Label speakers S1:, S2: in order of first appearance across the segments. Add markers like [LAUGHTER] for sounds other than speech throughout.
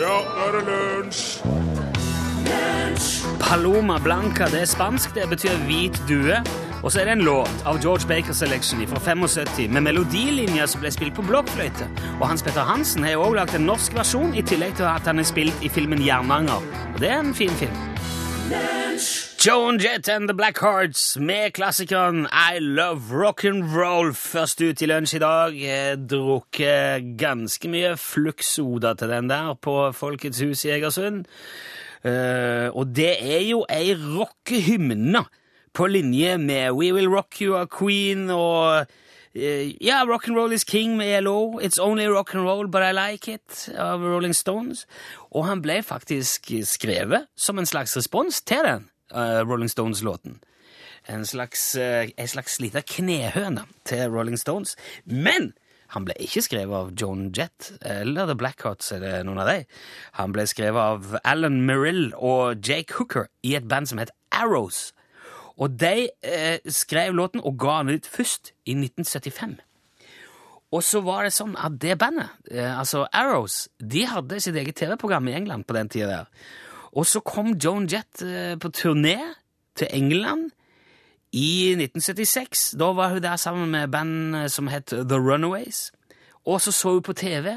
S1: er det lunsj!
S2: Paloma Blanca det er spansk, det betyr hvit due. Og så er det en låt av George Baker Selection fra 75 med melodilinjer som ble spilt på blokkfløyte. Og Hans Petter Hansen har også lagd en norsk versjon, i tillegg til at han er spilt i filmen Jernanger. Og det er en fin film. Joan Jett and The Blackhearts med klassikeren I Love Rock'n'Roll først ut i lunsj i dag. Jeg drukket ganske mye fluxoda til den der på Folkets hus i Egersund. Eh, og det er jo ei rockehymne på linje med We Will Rock You av Queen og eh, Ja, Rock'n'Roll is King med LO. It's Only Rock'n'Roll But I Like It av Rolling Stones. Og han ble faktisk skrevet som en slags respons til den eh, Rolling Stones-låten. En slags, eh, en slags lita knehøne til Rolling Stones. Men han ble ikke skrevet av Joan Jett eller The Blackhearts eller noen av dem. Han ble skrevet av Alan Merrill og Jake Hooker i et band som het Arrows. Og de eh, skrev låten og ga den ut først i 1975. Og så var det sånn at det bandet, eh, altså Arrows, de hadde sitt eget TV-program i England på den tida der. Og så kom Joan Jett eh, på turné til England i 1976. Da var hun der sammen med band som het The Runaways. Og så så hun på TV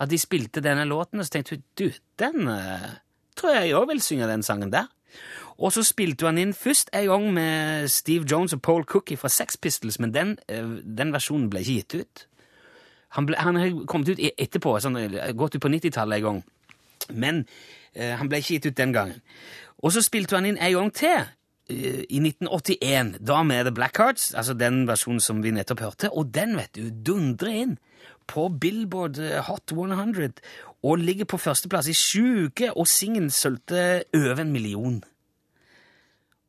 S2: at de spilte denne låten, og så tenkte hun du, den eh, tror jeg òg vil synge den sangen der. Og så spilte hun den inn først en gang med Steve Jones og Paul Cookie fra Sex Pistols, men den, eh, den versjonen ble ikke gitt ut. Han, ble, han har kommet ut i- etterpå, sånn, eh, gått ut på 90-tallet en gang. Men eh, han ble ikke gitt ut den gangen. Og så spilte han inn en gang til, eh, i 1981, da med The Blackhearts, altså den versjonen som vi nettopp hørte, og den, vet du, dundrer inn på Billboard eh, Hot 100 og ligger på førsteplass i sju uker, og singelen solgte over en million.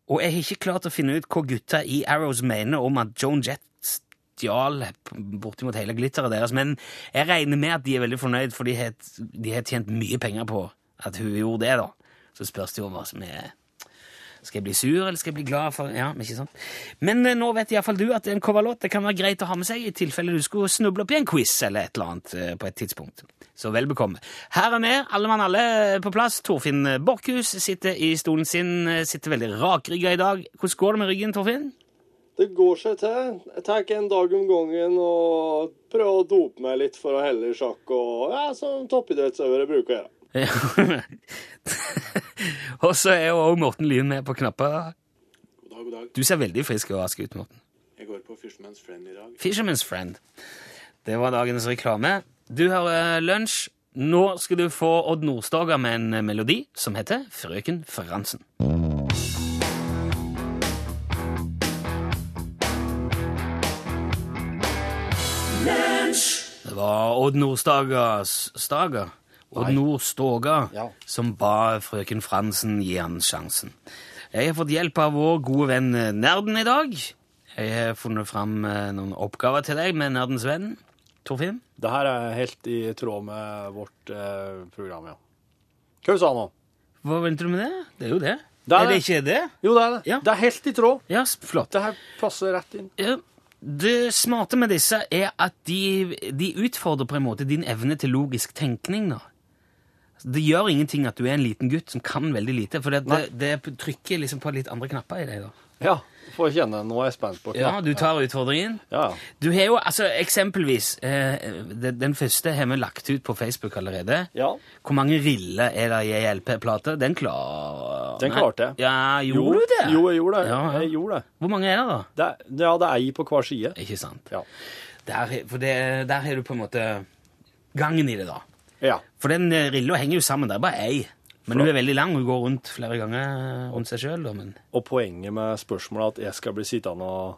S2: Og jeg har ikke klart å finne ut hva gutta i Arrows mener om at Joan Jett stjal bortimot hele glitteret deres, men jeg regner med at de er veldig fornøyd, for de har, de har tjent mye penger på at hun gjorde det, da. Så spørs det jo hva som er Skal jeg bli sur, eller skal jeg bli glad for Ja, men ikke sant? Men eh, nå vet iallfall du at det er en coverlåt det kan være greit å ha med seg i tilfelle du skulle snuble opp i en quiz eller et eller annet eh, på et tidspunkt. Så vel bekomme. Her er vi, alle mann alle eh, på plass. Torfinn Borchhus sitter i stolen sin, eh, sitter veldig rakrygga i dag. Hvordan går det med ryggen, Torfinn?
S3: Det går seg til. Jeg tar en dag om gangen og prøver å dope meg litt for å helle i sjakk og ja, som toppidrettsøvere bruker å gjøre.
S2: Ja. [LAUGHS] og så er jo også Morten Lyen med på knappa.
S4: God dag, god dag.
S2: Du ser veldig frisk og rask ut, Morten.
S4: Jeg går på Fyrstemanns Friend i dag.
S2: Fisherman's Friend. Det var dagens reklame. Du hører lunsj. Nå skal du få Odd Nordstoga med en melodi som heter Frøken Fransen. Det var Odd Nordstagas Staga? Odd Nordstoga
S5: Ja.
S2: som ba frøken Fransen gi han sjansen. Jeg har fått hjelp av vår gode venn eh, Nerden i dag. Jeg har funnet fram eh, noen oppgaver til deg med Nerdens venn, Torfinn.
S5: Det her er helt i tråd med vårt eh, program, ja. Hva sa du nå?
S2: Hva venter du med det? Det er jo det.
S5: Det er
S2: er det
S5: det.
S2: ikke det?
S5: Jo, det er det.
S2: Ja.
S5: Det er helt i tråd.
S2: Ja, s- flott.
S5: Det her passer rett inn.
S2: Ja, Det smarte med disse er at de, de utfordrer på en måte din evne til logisk tenkning. da. Altså, Det gjør ingenting at du er en liten gutt som kan veldig lite, for det, det, det trykker liksom på litt andre knapper i deg. da.
S5: Ja, får kjenne. Nå er jeg spent på
S2: Ja, Du tar utfordringen.
S5: Ja,
S2: Du har jo altså eksempelvis eh, den, den første har vi lagt ut på Facebook allerede.
S5: ja.
S2: Hvor mange riller er det i ei LP-plate? Den klarer
S5: Den
S2: Nei.
S5: klarte jeg.
S2: Ja, gjorde du det?
S5: Jo, jeg gjorde det.
S2: Ja, ja.
S5: Jeg gjorde det.
S2: Hvor mange er det, da?
S5: det er, ja, det er ei på hver side.
S2: Ikke sant?
S5: Ja.
S2: Der, for det, der har du på en måte gangen i det, da.
S5: ja.
S2: For den eh, rilla henger jo sammen. Det er bare ei. Men hun er veldig lang. Hun går rundt flere ganger rundt seg sjøl. Men
S5: Og poenget med spørsmålet er at jeg skal bli sittende og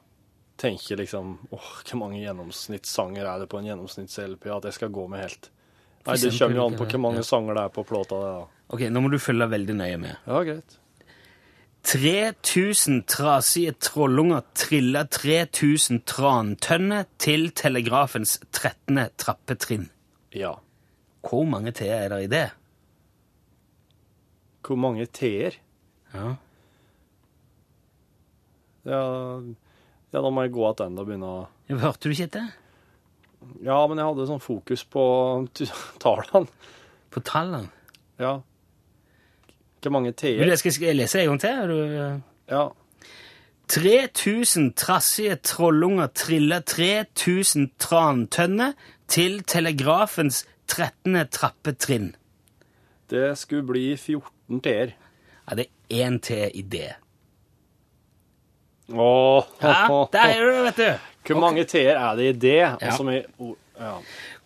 S5: tenke liksom åh, hvor mange gjennomsnittssanger er det på en gjennomsnitts-LP at jeg skal gå med helt? Nei, det
S2: eksempel,
S5: kommer jo an på
S2: ja.
S5: hvor mange sanger det er på plata. det, da.
S2: ok, nå må du følge veldig nøye med.
S5: Ja, greit.
S2: 3000 trasige trollunger triller 3000 trantønner til telegrafens 13. trappetrinn.
S5: Ja.
S2: Hvor mange t-er er det i det?
S5: Hvor mange T-er?
S2: Ja.
S5: Ja, ja, da må jeg gå tilbake og begynne å
S2: Hørte du ikke etter?
S5: Ja, men jeg hadde sånn fokus på tu- [LAUGHS] tallene.
S2: På tallene?
S5: Ja. Hvor mange
S2: Vil du
S5: T-er?
S2: jeg skal sk- lese en gang til? Er du... eh,
S5: Ja.
S2: 3000 trassige trollunger triller 3000 trantønner til telegrafens 13. trappetrinn.
S5: Det skulle bli 14 T-er.
S2: Ja, det er én til i det.
S5: Åh,
S2: Ja, der er du, vet du!
S5: Hvor mange T-er er det i det? Og som i o- ja.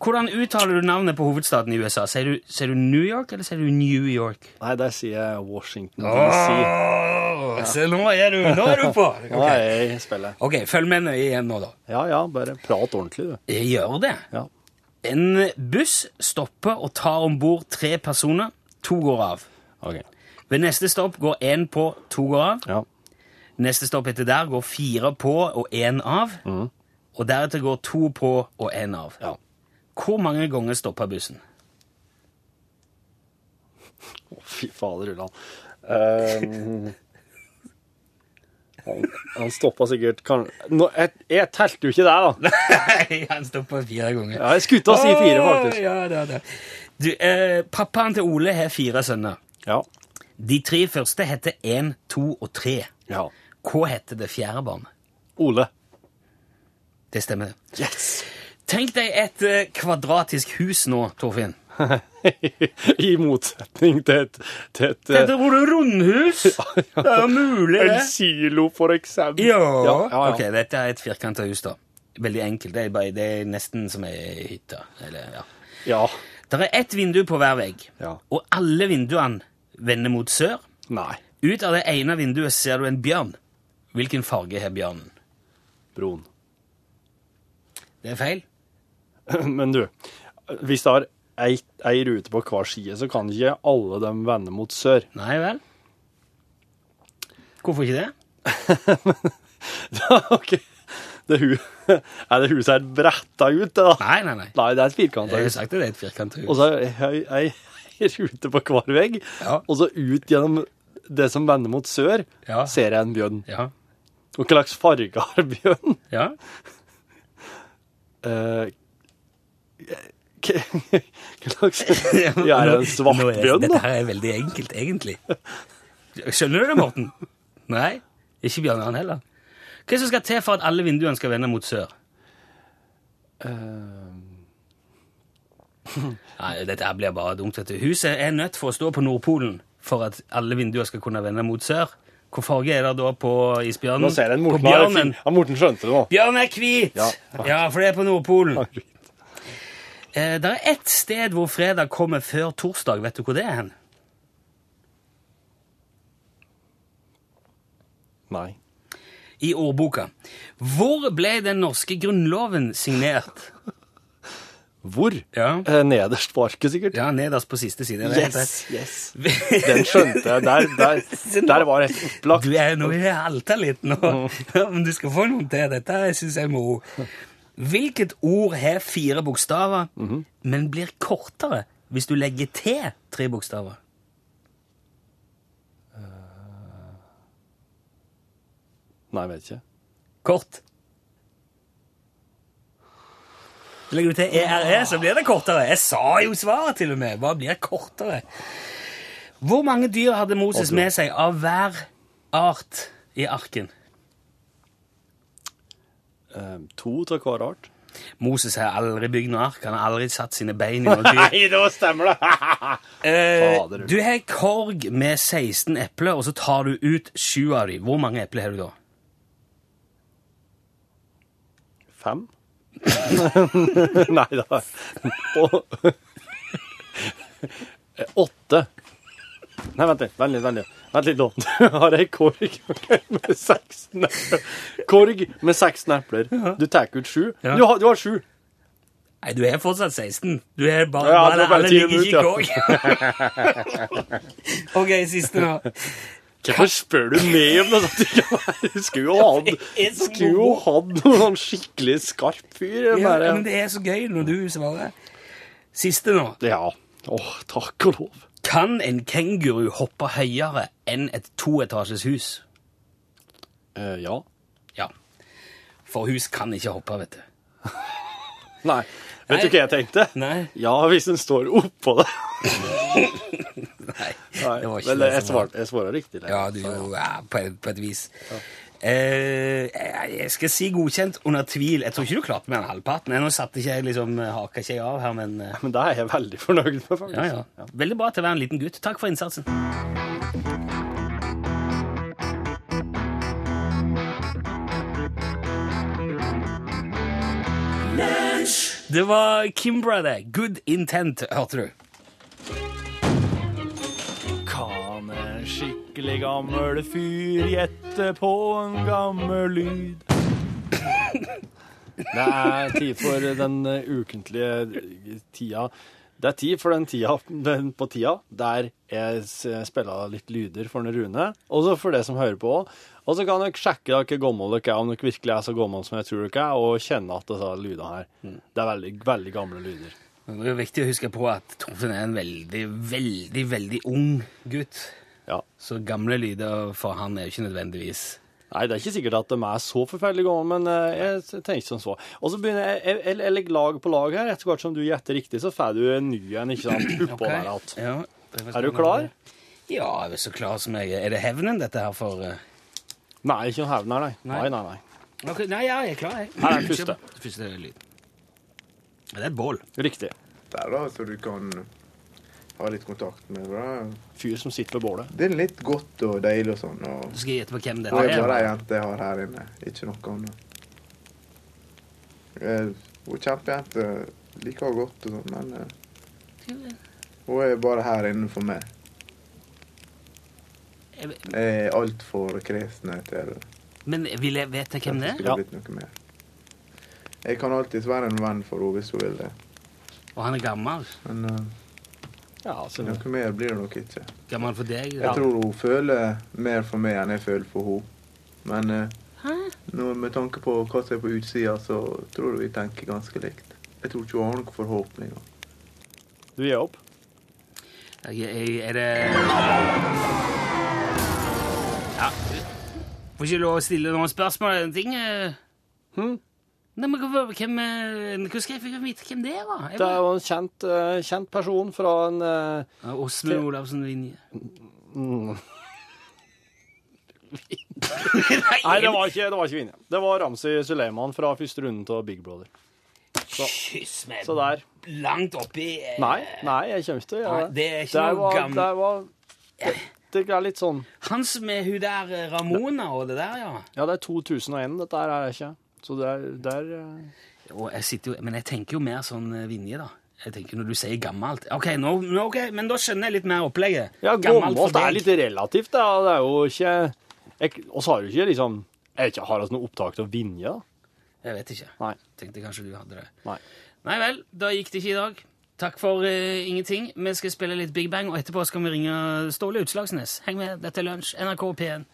S2: Hvordan uttaler du navnet på hovedstaden i USA? Sier du, sier du New York, eller sier du New York?
S5: Nei, der sier jeg Washington
S2: Ah,
S5: DC.
S2: Åh, Se, nå er du, nå er du på!
S5: [LAUGHS] Nå
S2: Ok,
S5: er jeg i spillet.
S2: Ok, følg med nøye igjen nå, da.
S5: Ja ja, bare prat ordentlig, du.
S2: Jeg gjør det.
S5: Ja.
S2: En buss stopper og tar om bord tre personer. To går av.
S5: Ok.
S2: Ved neste stopp går én på, to går av.
S5: Ja.
S2: Neste stopp etter der går fire på og én av. Og deretter går to på og én av.
S5: Mm. Ja.
S2: Hvor mange ganger stopper
S5: [LAUGHS]
S2: bussen?
S5: Å, fy fader, Ulland. Ehm, han han stoppa sikkert kan, nå, jeg, jeg telte jo ikke der, da.
S2: Nei, han stopper fire ganger.
S5: Ja, jeg skulle til å si fire,
S2: Å,
S5: faktisk.
S2: Ja, det er det. Du, eh, pappaen til Ole har fire sønner.
S5: Ja.
S2: De tre første heter én, to og tre.
S5: ja.
S2: Hva heter det fjerde barnet?
S5: Ole. [LAUGHS]
S2: Det stemmer. det.
S5: Yes!
S2: Tenk deg et eh, kvadratisk hus nå, Torfinn.
S5: Eh. I motsetning til et, til et
S2: Det heter
S5: [LAUGHS]
S2: rundhus! Det er jo mulig,
S5: eh, [LAUGHS]
S2: det.
S5: En silo, for eksempel.
S2: Ja.
S5: Ja, ja, ja.
S2: Ok, dette er et firkanta hus, da. Veldig enkelt. Det er, bare, det er nesten som ei hytte. Eller, ja.
S5: Ja.
S2: Det er ett vindu på hver vegg,
S5: Ja.
S2: og alle vinduene vender mot sør.
S5: Nei.
S2: Ut av det ene vinduet ser du en bjørn. Hvilken farge har bjørnen?
S5: Broen.
S2: Det er feil.
S5: Men du, hvis det har ei, ei rute på hver side, så kan ikke alle dem vende mot sør. [LAUGHS]
S2: Nei vel? Hvorfor ikke det?
S5: ok. Det hu [LAUGHS] er det huset her bretta ut, det da?
S2: Nei, nei, nei.
S5: Nei, det er et firkanta
S2: Jeg har
S5: hus.
S2: sagt at det er et firkanta
S5: Og
S2: hus.
S5: så er det ei, ei rute på hver vegg,
S2: Ja.
S5: og så ut gjennom det som vender mot sør,
S2: Ja.
S5: ser jeg en bjørn.
S2: Ja.
S5: Og hva slags farge har bjørn?
S2: ja.
S5: Eh, k- [LAUGHS] hva slags
S2: [LAUGHS]
S5: Ja, er det en svart
S2: Nå er-
S5: bjørn,
S2: Dette
S5: da?
S2: her er veldig enkelt, egentlig. Skjønner du det, Morten? Nei, ikke Bjørn Arne heller. Hva er det som skal til for at alle vinduene skal vende mot sør?
S5: Eh.
S2: Nei, dette her blir bare dumt, vet du. Huset er nødt for å stå på Nordpolen for at alle vinduer skal kunne vende mot sør. Hvor farge er det da på isbjørnen?
S5: Nå ser jeg en
S2: på
S5: Morten. har fin-
S2: bjørnen.
S5: Ja, Morten skjønte det nå.
S2: Bjørn er hvit! Ja.
S5: Ja.
S2: for det er på Nordpolen.
S5: Han er hvit.
S2: Eh, det er ett sted hvor fredag kommer før torsdag. Vet du hvor det er hen?
S5: Nei.
S2: I ordboka. Hvor ble den norske grunnloven signert?
S5: Hvor?
S2: Ja.
S5: Eh, nederst på arket, sikkert.
S2: Ja, nederst på siste side. det er helt
S5: Yes, yes.
S2: rett.
S5: Den skjønte jeg. Der,
S2: [LAUGHS]
S5: der, der var det helt opplagt.
S2: Du er nå i halta litt nå, [LAUGHS] men du skal få noen til. Dette syns jeg er moro. Hvilket ord har fire bokstaver,
S5: Mhm.
S2: men blir kortere hvis du legger til tre bokstaver?
S5: Nei, vet ikke.
S2: Kort. Legger du til ERE, så blir det kortere. Jeg sa jo svaret, til og med. Hva blir kortere? Hvor mange dyr hadde Moses med seg av hver art i arken?
S5: Eh, to av hver art.
S2: Moses har aldri bygd noe ark. Han har aldri satt sine bein i
S5: [LAUGHS]
S2: noe dyr.
S5: da
S2: [LAUGHS]
S5: stemmer det!
S2: Eh,
S5: Fader.
S2: du har ei korg med 16 epler, og så tar du ut sju av dem. Hvor mange epler har du da?
S5: Fem? [LAUGHS] Nei da. Å- Eh, Åtte. Nei, vent litt. Vent litt, vent litt. Vent litt nå. [LAUGHS] Du har ei korg med 16 epler. Korg med 16 epler. Du tar ut sju.
S2: Ja.
S5: Du har, du har sju.
S2: Nei, du er fortsatt 16. Du er bare,
S5: Ja,
S2: bare,
S5: det
S2: alle
S5: var bare
S2: ligger
S5: tiden
S2: ikke
S5: ut,
S2: i
S5: ja.
S2: korg.
S5: [LAUGHS]
S2: [LAUGHS] ok, siste nå.
S5: Hvorfor spør du meg om
S6: [LAUGHS]
S5: noe sånt? Ja, Du skulle jo hatt
S2: Det er så
S5: skulle jo hatt noen sånn skikkelig skarp fyr. den
S2: Ja,
S5: der-
S2: men det er så gøy når du svarer. Siste nå.
S5: Ja. Åh, takk og lov.
S2: Kan en kenguru hoppe høyere enn et toetasjes hus?
S5: Eh, ja.
S2: Ja. For hus kan ikke hoppe, vet du.
S5: Nei. Vet du
S2: Nei.
S5: hva jeg tenkte?
S2: Nei.
S5: Ja, hvis den står oppå det.
S2: Nei.
S5: Nei,
S6: Det var ikke
S5: vel,
S6: det som
S5: jeg
S6: var-
S5: svarte, jeg svarer riktig. Leif.
S6: Ja, du,
S5: Så,
S6: jo, ja, på, på et vis. Eh, jeg- jeg skal si godkjent under tvil. Jeg tror ikke du klarte mer enn halvparten. Nå satte ikke jeg liksom, haka ikke jeg av her, men eh,
S5: Men det er jeg veldig fornøyd med, faktisk.
S6: ja, ja.
S2: Veldig bra til å være en liten gutt. Takk for innsatsen. Det var Kimbra, det. Good intent, hørte du.
S5: Kan en skikkelig gammel fyr gjette på en gammel lyd? Det er tid for den eh, ukentlige eh, tida. Det er tid for den tida den på tida der jeg s- eh, spiller litt lyder for den Rune, og så for det som hører på. Og så kan dere sjekke dere gammel dere er, om dere virkelig er så gammel som jeg tror dere er, og kjenne at disse lydene her. Det er veldig, veldig gamle lyder.
S2: Men Det er viktig å huske på at Torfinn er en veldig, veldig, veldig ung gutt.
S5: Ja.
S2: Så gamle lyder for han er jo ikke nødvendigvis
S5: Nei, det er ikke sikkert at de er så forferdelig gamle, men eh, jeg tenker som så. Og så begynner jeg, jeg, jeg, jeg legger lag på lag her. Etter hvert som du gjetter riktig, så får du en ny en, ikke sant? Oppå der alt.
S2: Ja.
S5: Er du klar?
S2: Ja, jeg er så klar som jeg er. Er det hevnen, dette her, for eh?
S5: Nei, ikke noe hevn her, nei.
S2: Nei.
S5: Nei, nei, nei.
S2: Ok, Nei, ja, jeg er klar, jeg.
S5: Her er den første.
S2: Kjør på. Første lyd. Ja, det er et bål.
S5: Riktig.
S1: der, da, så du kan ha litt kontakt med. Da.
S5: Fyr som sitter ved bålet.
S1: Det er litt godt og deilig og sånn. Og
S2: Så skal jeg gjette på hvem
S1: det
S2: dette
S1: er bare ei
S2: er.
S1: jente jeg har her inne, ikke noe annet. Eh, Hun er kjempejente, liker henne godt og sånn, men eh, hun er bare her inne for meg. Jeg er altfor kresen til at
S2: Men vil jeg vite hvem det
S1: det
S2: er?
S1: skulle blitt noe mer. Jeg kan alltids være en venn for henne hvis hun vil det,
S2: Og han er gammel.
S1: men eh,
S5: Ja, så
S1: noe mer blir det nok ikke.
S2: Gammel for deg.
S1: Jeg tror hun føler mer for meg enn jeg føler for henne. Men eh, nå, med tanke på hva som er på utsida, så tror jeg vi tenker ganske likt. Jeg tror ikke hun har noen forhåpninger.
S5: du gir opp.
S2: Jeg- jeg- Er det Ja. Får ikke lov å stille noen spørsmål eller ting? eh?
S5: Hm?
S2: Nei, men hvorfor- hvem, eh, Hvordan skal jeg få vite hvem det var? Jeg
S5: Det er
S2: bare-
S5: jo en kjent, eh, kjent person fra en eh,
S2: Ja, Åsmund Olavsen Vinje.
S1: Mm.
S2: [LAUGHS]
S5: Nei, det var ikke, det var ikke Vinje. Det var Ramsi Suleiman fra første runden av Big Brother.
S2: Kyss meg
S5: Så der.
S2: langt oppi eh,
S5: Nei, nei, jeg kommer ikke til å gjøre
S2: Nei, det er ikke noe
S5: var,
S2: gammel-
S5: Det var det, det er litt sånn
S2: Han som er hun der eh, Ramona og det der, ja.
S5: Ja, det er 2001 dette her er det ikke. Så det er, det er eh,
S2: Og jeg sitter jo, men jeg tenker jo mer sånn eh, Vinje, da. Jeg tenker Når du sier gammelt Ok, nå, nå, ok, men da skjønner jeg litt mer opplegget.
S5: Ja,
S2: Gammelt for
S5: gammelt er
S2: deg.
S5: litt relativt, da. Det er jo ikke jeg- Og så har du ikke liksom jeg vet ikke, Har vi noe opptak til Vinje, da?
S2: Jeg vet ikke.
S5: Nei.
S2: Tenkte kanskje du hadde det.
S5: Nei.
S2: Nei vel, da gikk det ikke i dag. Takk for eh, ingenting. Vi skal spille litt Big Bang, og etterpå skal vi ringe Ståle Utslagsnes. Heng med, dette er Lunsj, NRK P1.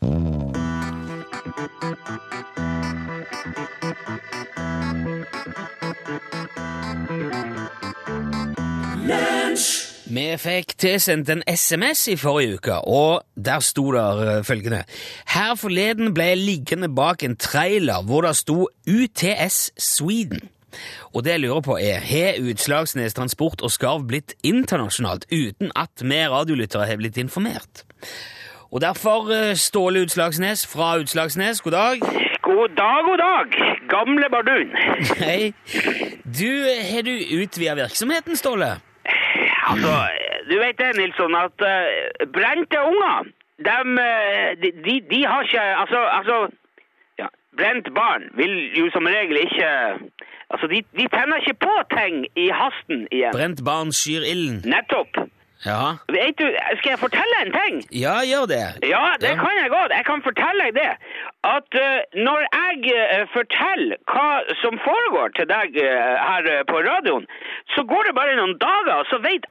S2: Vi fikk tilsendt en SMS i forrige uke, og der sto der eh, følgende Her forleden ble jeg liggende bak en trailer hvor det sto UTS Sweden. Og det jeg lurer på er, har Utslagsnes Transport og Skarv blitt internasjonalt uten at vi radiolyttere har blitt informert? Og derfor, eh, Ståle Utslagsnes fra Utslagsnes, god dag.
S7: God dag, god dag, gamle bardun.
S2: [LAUGHS] Hei. Du, eh, har du utvida virksomheten, Ståle?
S7: Altså, du vet det, Nilsson, at eh, brente unger, dem, eh, de, de, de har ikke Altså, altså ja, brent barn vil jo som regel ikke Altså, de, de tenner ikke på ting i hasten igjen.
S2: Brent barn skyr ilden.
S7: Nettopp.
S2: Ja.
S7: Vet du, skal jeg fortelle en ting?
S2: Ja, gjør det.
S7: Ja, det
S2: Ja.
S7: kan jeg godt. Jeg kan fortelle deg det. At eh, når jeg eh, forteller hva som foregår til deg eh, her eh, på radioen, så går det bare noen dager, og så vet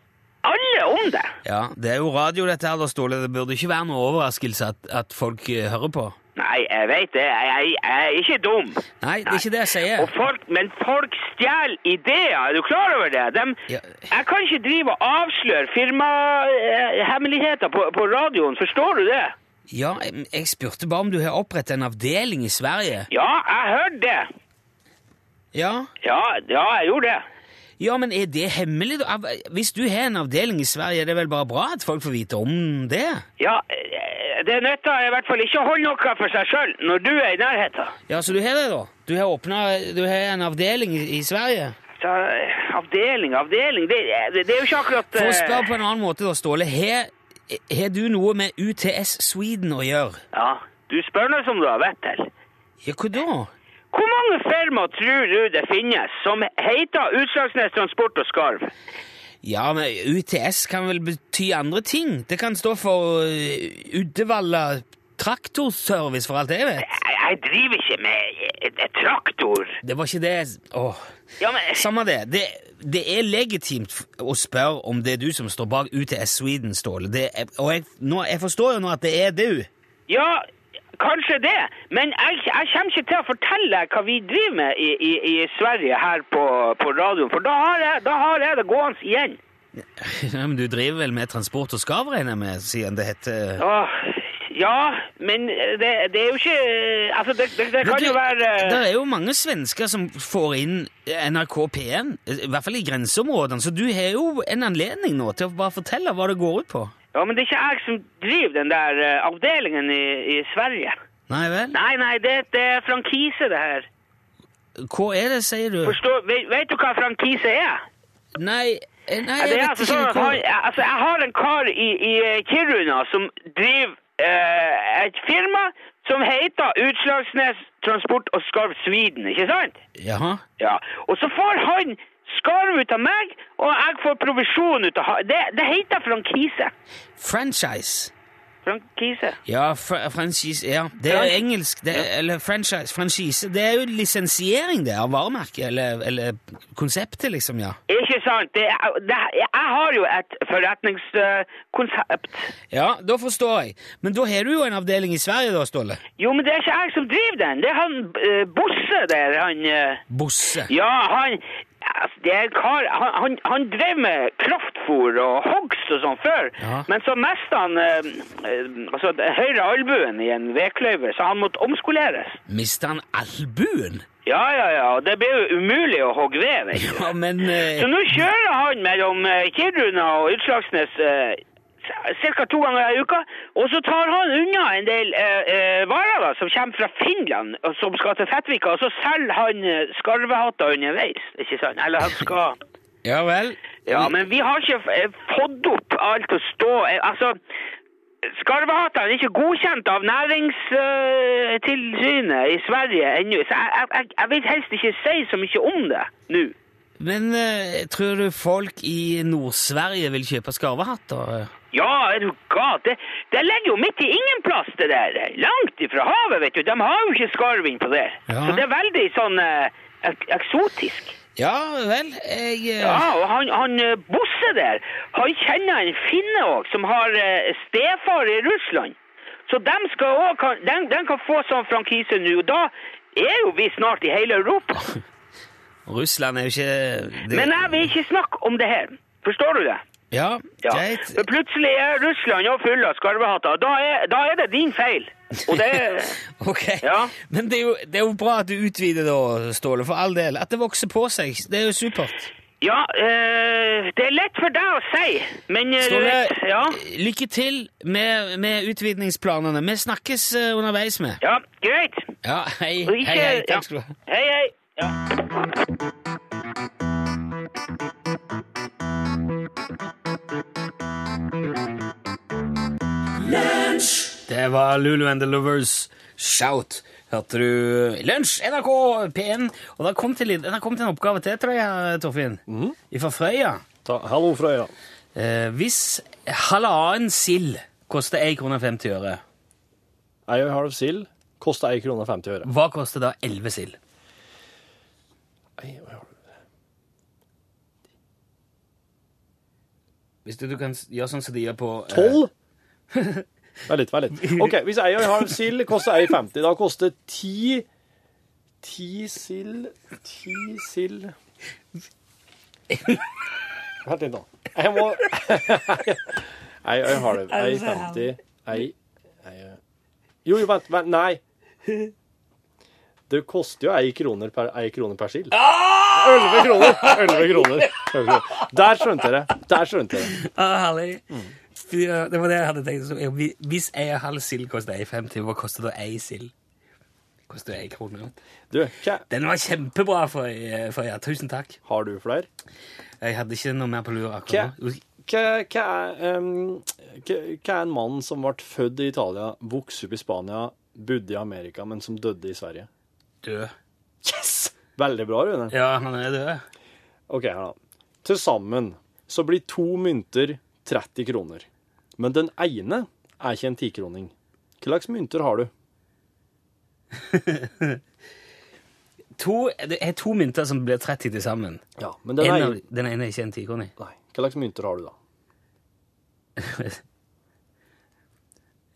S7: alle om det.
S2: Ja, Det er jo radio, dette her, da, Ståle. Det burde ikke være noe overraskelse at, at folk eh, hører på.
S7: Nei, jeg vet det. Jeg, jeg, jeg er ikke dum.
S2: Nei, det er ikke det jeg
S7: Og
S2: sier.
S7: folk, men folk stjeler ideer. Er du klar over det? Dem-
S2: Ja.
S7: Jeg kan ikke drive og avsløre firmahemmeligheter på, på radioen. Forstår du det?
S2: Ja, jeg, jeg spurte bare om du har opprettet en avdeling i Sverige.
S7: Ja, jeg hørte det.
S2: Ja,
S7: Ja, ja jeg gjorde det.
S2: Ja, men er det hemmelig? da? Av- Hvis du har en avdeling i Sverige, er det vel bare bra at folk får vite om det?
S7: Ja, eh, det nytter i hvert fall ikke å holde noe for seg sjøl når du er i nærheten.
S2: Ja, så du har det, da? Du har åpnet- Du har en avdeling i, i Sverige?
S7: Så, eh, avdeling, avdeling Det, det, det er jo ikke akkurat
S2: For å
S7: eh,
S2: spørre på en annen måte, da, Ståle. Har har du noe med UTS Sweden å gjøre?
S7: Ja, du spør noe som du har vett til.
S2: Ja, hva da?
S7: Hvor mange firma tror du det finnes som heter Utslagsnes Transport og Skarv?
S2: Ja, men UTS kan vel bety andre ting? Det kan stå for eh, Uddevalla Traktorservice, for alt jeg vet.
S7: Jeg, jeg driver ikke med eh, eh, traktor.
S2: Det var ikke det Åh.
S7: Ja, men
S2: Samme det. det. Det er legitimt f- å spørre om det er du som står bak UTS Sweden, Ståle. Det er, og jeg, nå, jeg forstår jo nå at det er du. [LAUGHS]
S7: Ja, kanskje det. Men jeg, jeg kommer ikke til å fortelle deg hva vi driver med i, i, i Sverige her på, på radioen, for da har, jeg, da har jeg det gående igjen.
S2: Ja, men du driver vel med transport og skarv, regner jeg med, siden det heter
S7: Åh, ja, men det, det er jo ikke Altså, det, det, det
S2: Men
S7: kan
S2: du,
S7: jo være eh,
S2: der er jo mange svensker som får inn NRK P1, i hvert fall i grenseområdene, så du har jo en anledning nå til å bare fortelle hva det går ut på.
S7: Ja, men det er ikke jeg som driver den der eh, avdelingen i, i Sverige.
S2: Nei vel?
S7: Nei, nei, det, det er frankise, det her.
S2: Hva er det, sier du?
S7: Forstår, vet, vet du hva frankise er?
S2: Nei, eh, nei
S7: Ja,
S2: jeg
S7: det er
S2: vet
S7: altså
S2: ikke
S7: sånn at han,
S2: hva
S7: altså, jeg har en kar i, i eh, Kiruna som driver eh, et firma som heter Utslagsnes Transport og Skarv Sweden, ikke sant?
S2: Jaha.
S7: Ja. Og så får han skarv ut av meg, og jeg får provisjon ut av han. Det, det heter frankise.
S2: Franchise.
S7: Frankise.
S2: Ja, fr franchise Ja, det er jo
S7: Frank-
S2: engelsk. Det, Eller franchise. Franchise. Det er jo lisensiering, det, av varemerket, eller, eller konseptet, liksom, ja.
S7: Ikke sant? Det, er- det, er- jeg har jo et forretningskonsept.
S2: Ja, da forstår jeg. Men da har du jo en avdeling i Sverige, da, Ståle.
S7: Jo, men det er ikke jeg som driver den. Det er han eh, Bosse der, han eh,
S2: Bosse.
S7: Ja, han altså, det er en kar, han, han, han drev med kraftfôr og hogst og sånn før,
S2: Ja.
S7: men så mest han eh, eh, altså, høyre albuen i en vekløyve, så han måtte omskoleres.
S2: Mister han albuen?
S7: Ja, ja, ja, og det ble jo umulig å hogge ved,
S2: [LAUGHS]
S7: vet du.
S2: Ja, men eh,
S7: Så nå kjører han mellom eh, Kiruna og Utslagsnes eh, ca. to ganger i uka, og så tar han unna en del eh, eh, varer da, som kommer fra Finland, og som skal til Fettvika, og så selger han eh, skarvehatter underveis, ikke sant? Eller han skal...
S2: Ja vel.
S7: Ja, men vi har ikke eh, fått opp alt å stå eh, Altså, skarvehatene er ikke godkjent av næringstilsynet eh, i Sverige ennå, så jeg, jeg- jeg, jeg vil helst ikke si så mye om det nå.
S2: Men eh, tror du folk i Nord-Sverige vil kjøpe skarvehatter?
S7: Ja, er du gal? Det, det ligger jo midt i ingen plass, det der. Langt ifra havet, vet du. De har jo ikke skarv innpå der.
S2: Ja.
S7: Så det er veldig sånn eh, ek eksotisk.
S2: Ja vel, jeg eh,
S7: Ja, og han, han eh, Bosse der, han kjenner en finne òg, som har eh, stefar i Russland. Så dem skal også, kan, dem, dem kan få sånn frankise nå, og da er jo vi snart i hele Europa.
S2: Russland er jo ikke [LAUGHS] det,
S7: Men eh, jeg vil ikke snakke om det her. Forstår du det?
S2: Ja,
S7: Ja.
S2: greit.
S7: For plutselig er Russland jo full av skarvehatter. Da er, da er det din feil. Og det
S2: [LAUGHS] Ok.
S7: Ja.
S2: Men det er, jo, det er jo bra at du utvider da, Ståle, for all del. At det vokser på seg, det er jo supert.
S7: Ja, eh, det er lett for deg å si, men eh,
S2: Ståle,
S7: ja,
S2: lykke til med, med utvidningsplanene. Vi snakkes eh, underveis med.
S7: ja, greit.
S2: Ja, hei.
S7: Og ikke,
S2: hei, hei.
S7: ja.
S2: Takk skal du ha.
S7: Hei, hei. Ja.
S2: Det var Lulu and the Lovers Shout. Hørte du Lunsj, NRK P1. Og det kom til, litt- der kom til en oppgave til, tror jeg, Torfinn. Fra Frøya.
S5: Ta, hallo, Frøya.
S2: Eh, hvis halvannen sild koster 1 krone 50 øre,
S5: Ei og en halv sild koster ei krone og 50 øre.
S2: hva koster da 11 sild?
S5: Ei og en halv.
S2: Hvis du, du kan s- gjøre sånn som de gjør på eh,
S5: Tolv? [LAUGHS] Vær litt, vær litt. OK, hvis ei og en halv sild koster ei 50, da koster ti Ti sild Ti sild Vent litt, nå. Jeg må [LAUGHS] Ei og en halv. Ei 50. Ei, ei Jo, jo, vent. vent nei. Det koster jo ei kroner per, ei kroner per sild. Elleve kroner! 11 kroner. 11 kroner. Der skjønte jeg det. Der skjønte jeg det.
S2: Ah, herlig. Fy, ja, Det var det jeg hadde tenkt. Så jeg- vi- Hvis ei og halv sild koster 1,50, hva koster da ei sild? Koster ei krone.
S5: Du, hva-
S2: Den var kjempebra for, eh, for ja. Tusen takk.
S5: har du flere?
S2: Jeg hadde ikke noe mer på lur
S5: Hva,
S2: akkurat nå.
S5: hva, hva, er, em, hva, hva er en mann som ble født i Italia, vokste opp i Spania, bodde i Amerika, men som døde i Sverige?
S2: Død.
S5: Veldig bra, Rune.
S2: Ja, han er død.
S5: Ok, her da. Til sammen så blir to mynter 30 kroner. Men den ene er ikke en 10-kroning. Hva slags mynter har du?
S2: To, det er to mynter som blir 30 til sammen.
S5: Ja, men den
S2: En
S5: ene...
S2: av, den ene er ikke en tikrone.
S5: Nei, hva slags mynter har du da?
S2: [LAUGHS]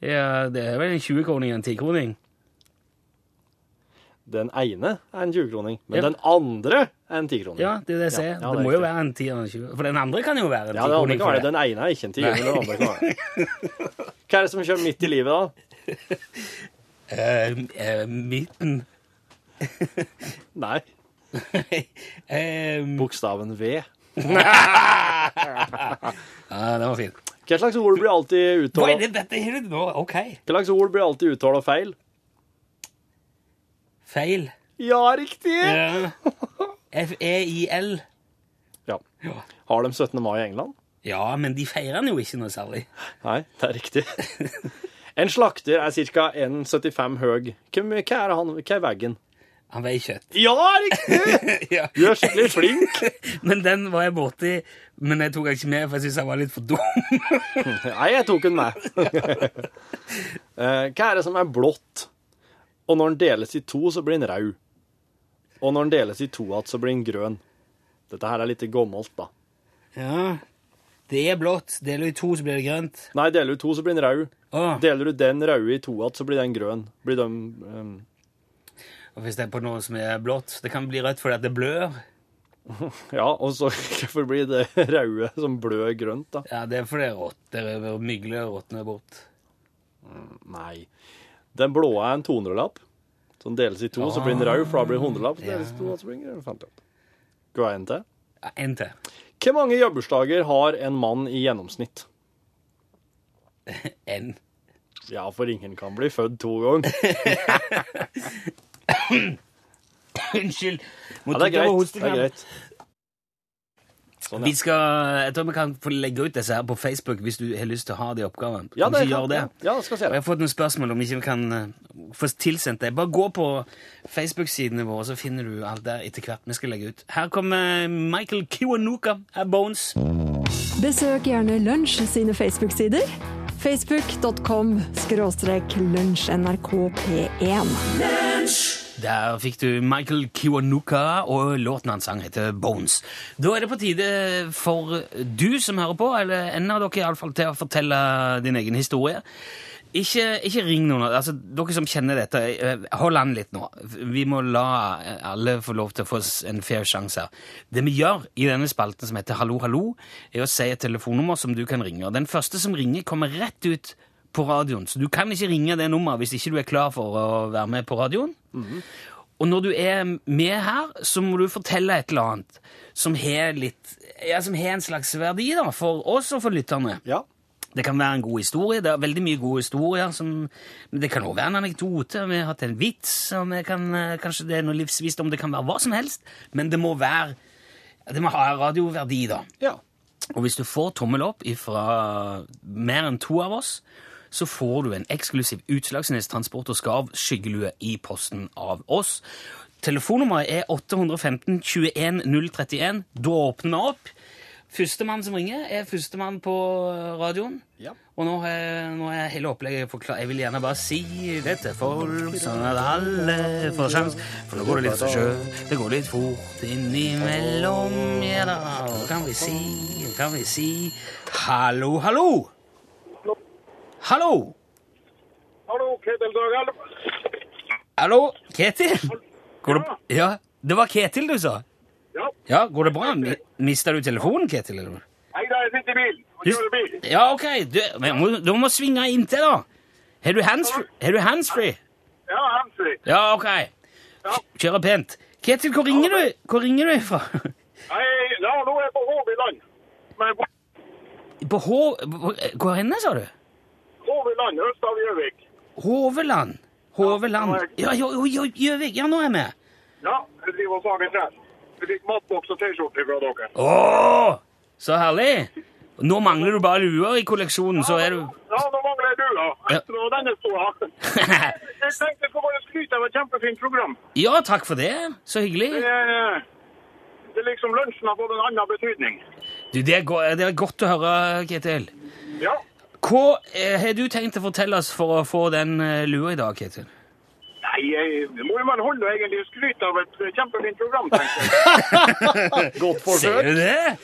S2: Ja, det er vel en 20-kroning og en 10-kroning.
S5: Den ene er en 20-kroning, men
S2: Ja.
S5: den andre er en 10-kroning.
S2: Ja, det er det jeg sier.
S5: Ja, ja,
S2: det,
S5: det er
S2: må jo
S5: riktig.
S2: være en 10 og en 20. For den andre kan jo være en
S5: Ja, det andre
S2: 10-kroning.
S5: kan
S2: for
S5: være.
S2: det.
S5: Den ene er ikke en 10-kroning, den andre kan være. Hva er det som kommer midt i livet da?
S2: Eh, eh, midten. [LAUGHS]
S5: Nei,
S2: Eh,
S5: bokstaven V.
S2: [LAUGHS] ja, den var fin.
S5: Hva slags ord blir alltid
S2: Hva er
S5: uttalt?
S2: det dette her nå? OK.
S5: Hva slags ord blir alltid uttalt feil?
S2: Feil.
S5: Ja, riktig!
S2: Eh, F-E-I-L.
S5: Ja. Har de 17. mai i England?
S2: Ja, men de feirer den jo ikke noe særlig.
S5: Nei, det er riktig. [LAUGHS] En slakter er ca. 1,75 høy. Hvem- Hva er han, hva er veggen?
S2: Han veier kjøtt. [LAUGHS]
S5: Ja, riktig!
S2: Ja.
S5: Du er skikkelig flink.
S2: Men den var jeg borti, men jeg tok den ikke med, for jeg syntes han var litt for dum. [LAUGHS]
S5: Nei, jeg tok den med. [LAUGHS] Eh, Hva er det som er blått? Og når den deles i to, så blir den rød. Og når den deles i to igjen, så blir den grønn. Dette her er litt gammelt, da.
S2: Ja, det er blått. Deler du i to, så blir det grønt.
S5: Nei, deler du to, så blir den rød.
S2: Åh,
S5: Deler du den røde i to igjen, så blir den grønn. Blir de, ehm,
S2: og hvis det er på noe som er blått, det kan bli rødt fordi at det blør.
S5: ja, og så [LAUGHS] hvorfor blir det røde som blør grønt, da?
S2: Ja, det er fordi det råtner og mygler og råtner bort.
S5: Nei. Den blå er en 200-lapp. Så den deles i to, så blir den rød, for da blir det 100-lapp. Så deles i to, så blir den grønn 50-lapp. Går jeg inn til?
S2: Ja, en til.
S5: Hvor mange jobbbursdager har en mann i gjennomsnitt?
S2: En. [LAUGHS]
S5: Ja, for ingen kan bli født to [LAUGHS] ganger.
S2: Unnskyld.
S5: Ja, det er greit. Det er greit. Sånn,
S2: Vi
S5: ja.
S2: skal, jeg tror vi kan få legge ut disse her på Facebook hvis du har lyst til å ha de oppgavene.
S5: Ja,
S2: Kan
S5: det
S2: vi ikke
S5: kan,
S2: gjøre det?
S5: ja, ja, skal
S2: Og
S5: se det.
S2: jeg har fått noen spørsmål om ikke vi kan eh, få tilsendt det. Bare gå på Facebook-sidene våre, så finner du alt der etter hvert vi skal legge ut. Her kommer Michael Kiwanuka av Bones.
S8: Besøk gjerne Lunsj sine Facebook-sider. Facebook.com skråstrek lunsjnrkp1.
S2: Der fikk du Michael Kiwanuka, og låten han sang heter Bones. Da er det på tide for du som hører på, eller en av dere iallfall, til å fortelle din egen historie. Ikke, ikke ring noen. altså Dere som kjenner dette, eh, hold an litt nå. Vi må la alle få lov til å få s- en fair sjanse her. Det vi gjør i denne spalten som heter Hallo, hallo, er å si et telefonnummer som du kan ringe. Og Den første som ringer, kommer rett ut på radioen. Så du kan ikke ringe det nummeret hvis ikke du er klar for å være med på radioen. Og når du er med her, så må du fortelle et eller annet som har, litt, ja, som har en slags verdi da, for oss og for lytterne.
S5: Ja.
S2: Det kan være en god historie. Det er veldig mye gode historier. Som, men det kan også være en anekdote. Vi har hatt en vits. Og vi kan, eh, kanskje det er noe livsvisdom. Det kan være hva som helst. Men det må være det må ha radioverdi, da.
S5: ja.
S2: Og hvis du får tommel opp fra mer enn to av oss, så får du en eksklusiv Utslagsnes Transport og Skarv skyggelue i posten av oss. Telefonnummeret er 815 21 031. Da åpner vi opp. Førstemann som ringer, er førstemann på radioen.
S5: Ja.
S2: Og nå er, nå er hele opplegget forklart. Jeg vil gjerne bare si det til folk, sånn at alle får sjans. For nå går det litt for sjø, det går litt fort innimellom, ja da. Og Kan vi si, kan vi si Hallo, hallo! Hallo!
S9: Hallo, Ketil Døgel.
S2: Hallo, Ketil? Går det, ja, det var Ketil du sa?
S9: Ja.
S2: Ja, går det bra? Mi- Mister du telefonen, Ketil? Eller?
S9: Hei da, jeg sitter i bil og kjører bil.
S2: Ja, ok. Du, men må, du må svinge inntil, da. Har du handsfree? Har du handsfree?
S9: Ja, Hamsi.
S2: Ja, ok.
S9: Ja.
S2: Kjøre pent. Ketil, hvor ringer du, hvor ringer du fra?
S9: Nei, ja, nå er jeg på Håviland. Men på
S2: [LAUGHS] På Hå... hvor- Hvor henne, sa du?
S9: Håviland, øst av Gjøvik.
S2: Hoveland. Hoveland. Ja, jo, jo, jo, Gjøvik. Ja, nå er jeg med.
S9: Ja, jeg driver og sager trær. Vi fikk matboks og T-skjorte fra dere.
S2: Åh, så herlig! Nå mangler du bare luer i kolleksjonen, så er du [LAUGHS]
S9: Ja, nå mangler jeg lua. Etter og denne store. Jeg tenkte jeg skulle bare skryte av et kjempefint program.
S2: Ja, takk for det. Så hyggelig.
S9: Det, er- det er liksom lunsjen har fått en annen betydning.
S2: Du, det er, go det er godt å høre, Ketil.
S9: Ja.
S2: Hva eh, har du tenkt å fortelle oss for å få den eh, lua i dag, Ketil?
S9: Nei, jeg det må jo man holde egentlig å skryte av et kjempefint program, tenker jeg.
S5: Godt
S2: Ser
S5: forsøk.
S2: du det?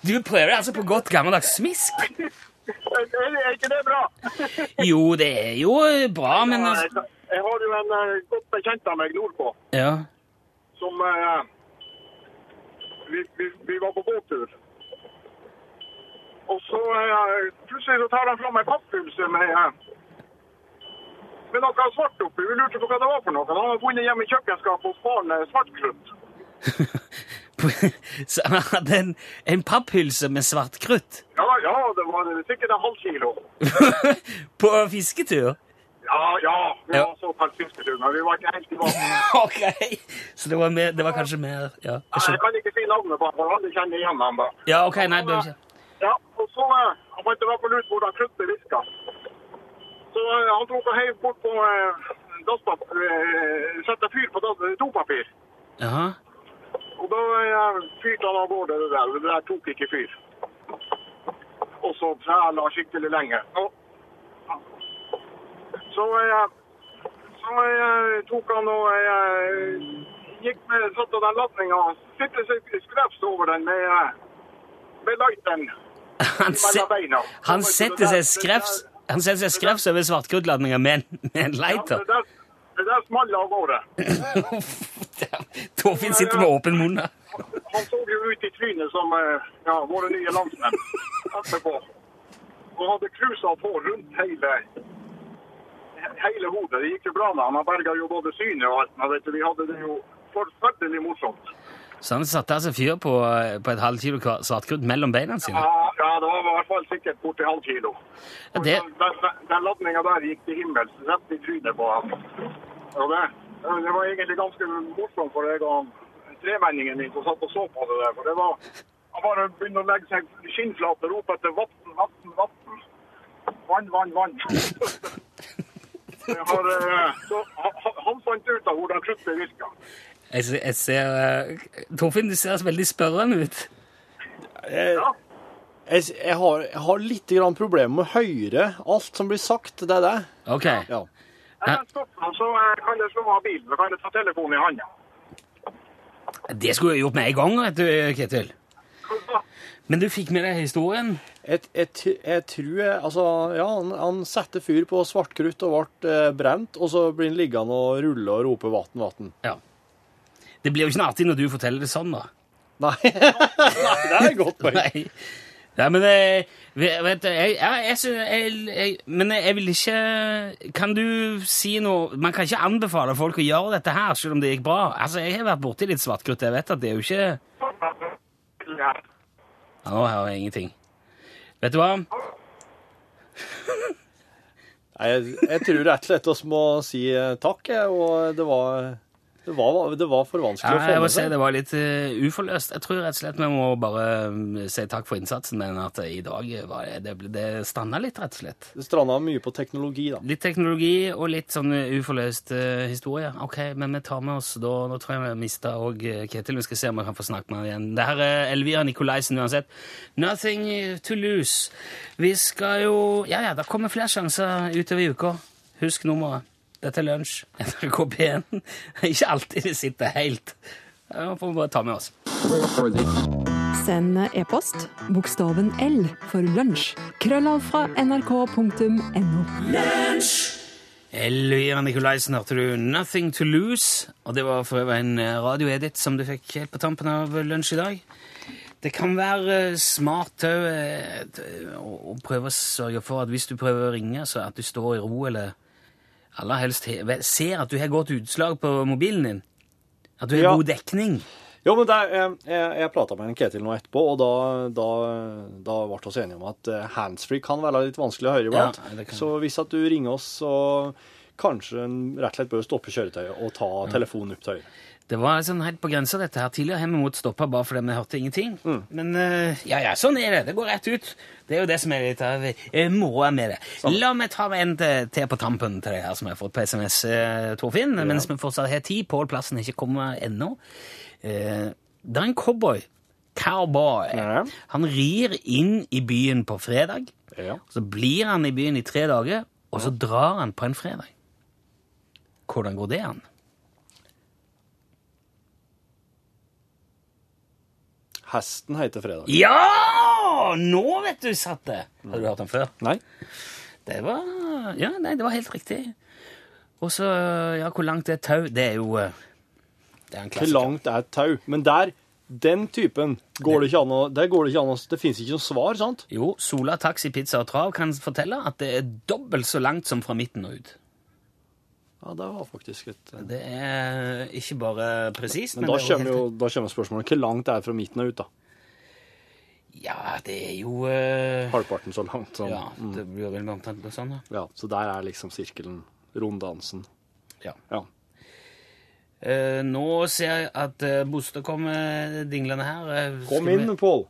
S2: Du prøver altså på godt gammeldags smisk.
S9: Er, er ikke det bra?
S2: Jo, det er jo bra, men
S9: Ja,
S2: altså-
S9: jeg, Eh, jeg har jo en eh, godt bekjent av meg nordpå,
S2: Ja.
S9: som eh, vi, vi, vi var på båttur. Og så eh, plutselig så tar han fram ei pappkulse med, eh, med noe svart oppi. Vi lurte på hva det var for noe. Han hadde funnet hjemme i kjøkkenskapet hos faren eh, svartkrutt.
S2: [LAUGHS] Så han hadde en, en papphylse med svart krutt
S9: Ja, ja, det var sikkert en halv kilo.
S2: på fisketur. [LAUGHS]
S9: Ja, ja, vi
S2: Ja.
S9: var så perfekte, men vi var ikke helt
S2: [LAUGHS]
S9: tilbake.
S2: Ok, så det var, mer, det var kanskje mer Ja, jeg
S9: Nei, jeg
S2: skjønner.
S9: kan ikke si navnet på han, for alle kjenner igjen han da.
S2: Ja, ok, nei, det var ikke...
S9: Ja, og så eh, han fant i hvert fall ut hvordan kruttet virka. Så eh, han tok og heiv bort på eh, dasspap- eh, Sette fyr på dass- dopapir.
S2: Jaha. [LAUGHS]
S9: Og da eh, fyrte han av gårde det der. Det der tok ikke fyr. Og så træla skikkelig lenge. Og, så eh, så eh, tok han og eh, gikk med satte den ladninga Sitte seg skrevs over den med, eh, med lighteren.
S2: Han, se,
S9: Mellom beina.
S2: han setter seg skrevs Han setter seg skrevs over svartkruttladninger med, en- med en
S9: Ja,
S2: lighter.
S9: det der- Det der smalt av gårde.
S2: [LAUGHS] Torfinn sitter med åpen munn. da.
S9: Han så jo ut i trynet som eh, ja, våre nye landsmenn etterpå. Og hadde cruisa på rundt hele, he- hele hodet. Det gikk jo bra med han. Han berga jo både synet og alt. Men vet du, vi hadde det jo forferdelig morsomt.
S2: Så han satte altså fyr på, på et halvt kilo kva- svartkrutt mellom beina sine.
S9: Ja, ja, det var i hvert fall sikkert borti halv kilo.
S2: Ja,
S9: Og
S2: det-
S9: Den, den, den ladninga der gikk til himmels rett i trynet på ham. Og det, det var egentlig ganske morsomt for jeg og tremenningen min som satt og så på det der. For det var Han bare begynte å legge seg skinnflat og rope etter vann, vann, vann. Vann, vann,
S2: [LAUGHS]
S9: vann. Jeg Har, eh, så, han, han fant ut av hvordan kruttet virka.
S2: Jeg, se- jeg ser eh, Torfinn, du ser veldig spørrende ut.
S5: Jeg, Eh, jeg, jeg, har, jeg har litt grann problemer med å høre alt som blir sagt. Det er det.
S2: Ok.
S5: Ja.
S9: Jeg kan stoppe han, så eh, kan jeg slå av bilen. Så kan jeg ta telefonen i handa.
S2: Det skulle jeg gjort med en gang, vet du, Ketil. Men du fikk med deg historien.
S5: Jeg, jeg, t- jeg tror jeg, Altså, ja, han, han satte fyr på svartkrutt og ble eh, brent, og så blir han liggende og rulle og rope 'vann, vann'.
S2: Ja. Det blir jo ikke noe artig når du forteller det sånn, da.
S5: Nei. [LAUGHS] Nei, det er et godt poeng.
S2: Nei. Nei, men eh, ve- vet du, jeg, ja, jeg, sy- jeg, jeg Men jeg vil ikke Kan du si noe Man kan ikke anbefale folk å gjøre dette her, selv om det gikk bra. Altså, Jeg har vært borti litt svartkrutt. Jeg vet at det er jo ikke ja, Nå hører jeg ingenting. Vet du hva?
S5: Nei, jeg, jeg tror rett og slett oss må si eh, takk, jeg, og det var, det var, det var for
S2: Ja,
S5: vanskelig å
S2: jeg
S5: få
S2: må
S5: med
S2: si
S5: seg.
S2: Det var litt eh, uforløst. Jeg tror rett og slett vi må bare mm, si takk for innsatsen, men at eh, i dag var det, det, ble- det standa litt, rett og slett.
S5: Det stranda mye på teknologi, da.
S2: Litt teknologi og litt sånn uforløst eh, historie. Ok, men vi tar med oss da Nå tror jeg vi har mista òg Ketil. Vi skal se om vi kan få snakke med han igjen. Det her er Elvira Nikolaisen uansett. Nothing to lose. Vi skal jo Ja ja, det kommer flere sjanser utover i uka. Husk nummeret. Dette er lunsj. [LAUGHS] NRK P1. Det er Ikke alltid det sitter helt. Ja, Nå får vi bare ta med oss.
S8: Send e-post bokstaven L for lunsj. Krøllav fra nrk.no.
S2: Elvira Nikolaisen hørte du Nothing to Lose, og det var for øvrig en eh, radioedit som du fikk helt på tampen av eh, lunsj i dag. Det kan være eh, smart òg å å prøve å sørge for at hvis du prøver å ringe, så at du står i ro, eller aller helst he- ve- ser at du har godt utslag på mobilen din. At du har
S5: Ja.
S2: god dekning.
S5: Jo, men der, eh, jeg, jeg prata med en Ketil nå etterpå, og da, da, da ble vi enige om at eh, handsfree kan være litt vanskelig å høre iblant.
S2: Ja, det kan.
S5: så hvis at du ringer oss, så kanskje en rett og slett bør stoppe kjøretøyet og ta telefonen opp til øyet.
S2: Det var sånn helt på grensa, dette her. Tidligere har vi måttet stoppe bare fordi vi hørte ingenting. Men eh, ja, ja, sånn er det. Det går rett ut. Det er jo det som er litt av eh, moroa med det. La meg ta en til til på tampen til det her som jeg har fått på SMS, eh, Torfinn, mens vi fortsatt har tid. Pål Plassen er ikke kommet ennå. Eh, det er en cowboy. Cowboy.
S5: Ja.
S2: Han rir inn i byen på fredag.
S5: Ja.
S2: Så blir han i byen i tre dager, og så drar han på en fredag. Hvordan går det an?
S5: Hesten heter Fredag.
S2: Ja! Nå vet du satt det! Hadde du hørt den før?
S5: Nei.
S2: Det var Ja, nei, det var helt riktig. Og så Ja, hvor langt er tau? Det er jo eh, Det er en
S5: Hvor
S2: klassiker.
S5: langt er et tau? Men der, den typen, går det ikke an å Der går det ikke an å Det fins ikke noe svar, sant?
S2: Jo, Sola Taxi Pizza og Trav kan fortelle at det er dobbelt så langt som fra midten og ut.
S5: Ja, det var faktisk et eh, Men,
S2: Det er ikke bare presist, men,
S5: da,
S2: det er
S5: kommer jo, da kommer spørsmålet hvor langt det er fra midten og ut, da.
S2: helt Ja, det er jo eh,
S5: Halvparten så langt. Sånn.
S2: Ja, det blir vel omtrent noe sånn, da.
S5: Ja, så der er liksom sirkelen, runddansen.
S2: Ja.
S5: Ja.
S2: Eh, nå ser jeg at eh, Boste kommer dinglende her. Eh, skal
S5: Kom
S2: vi-
S5: inn, Pål!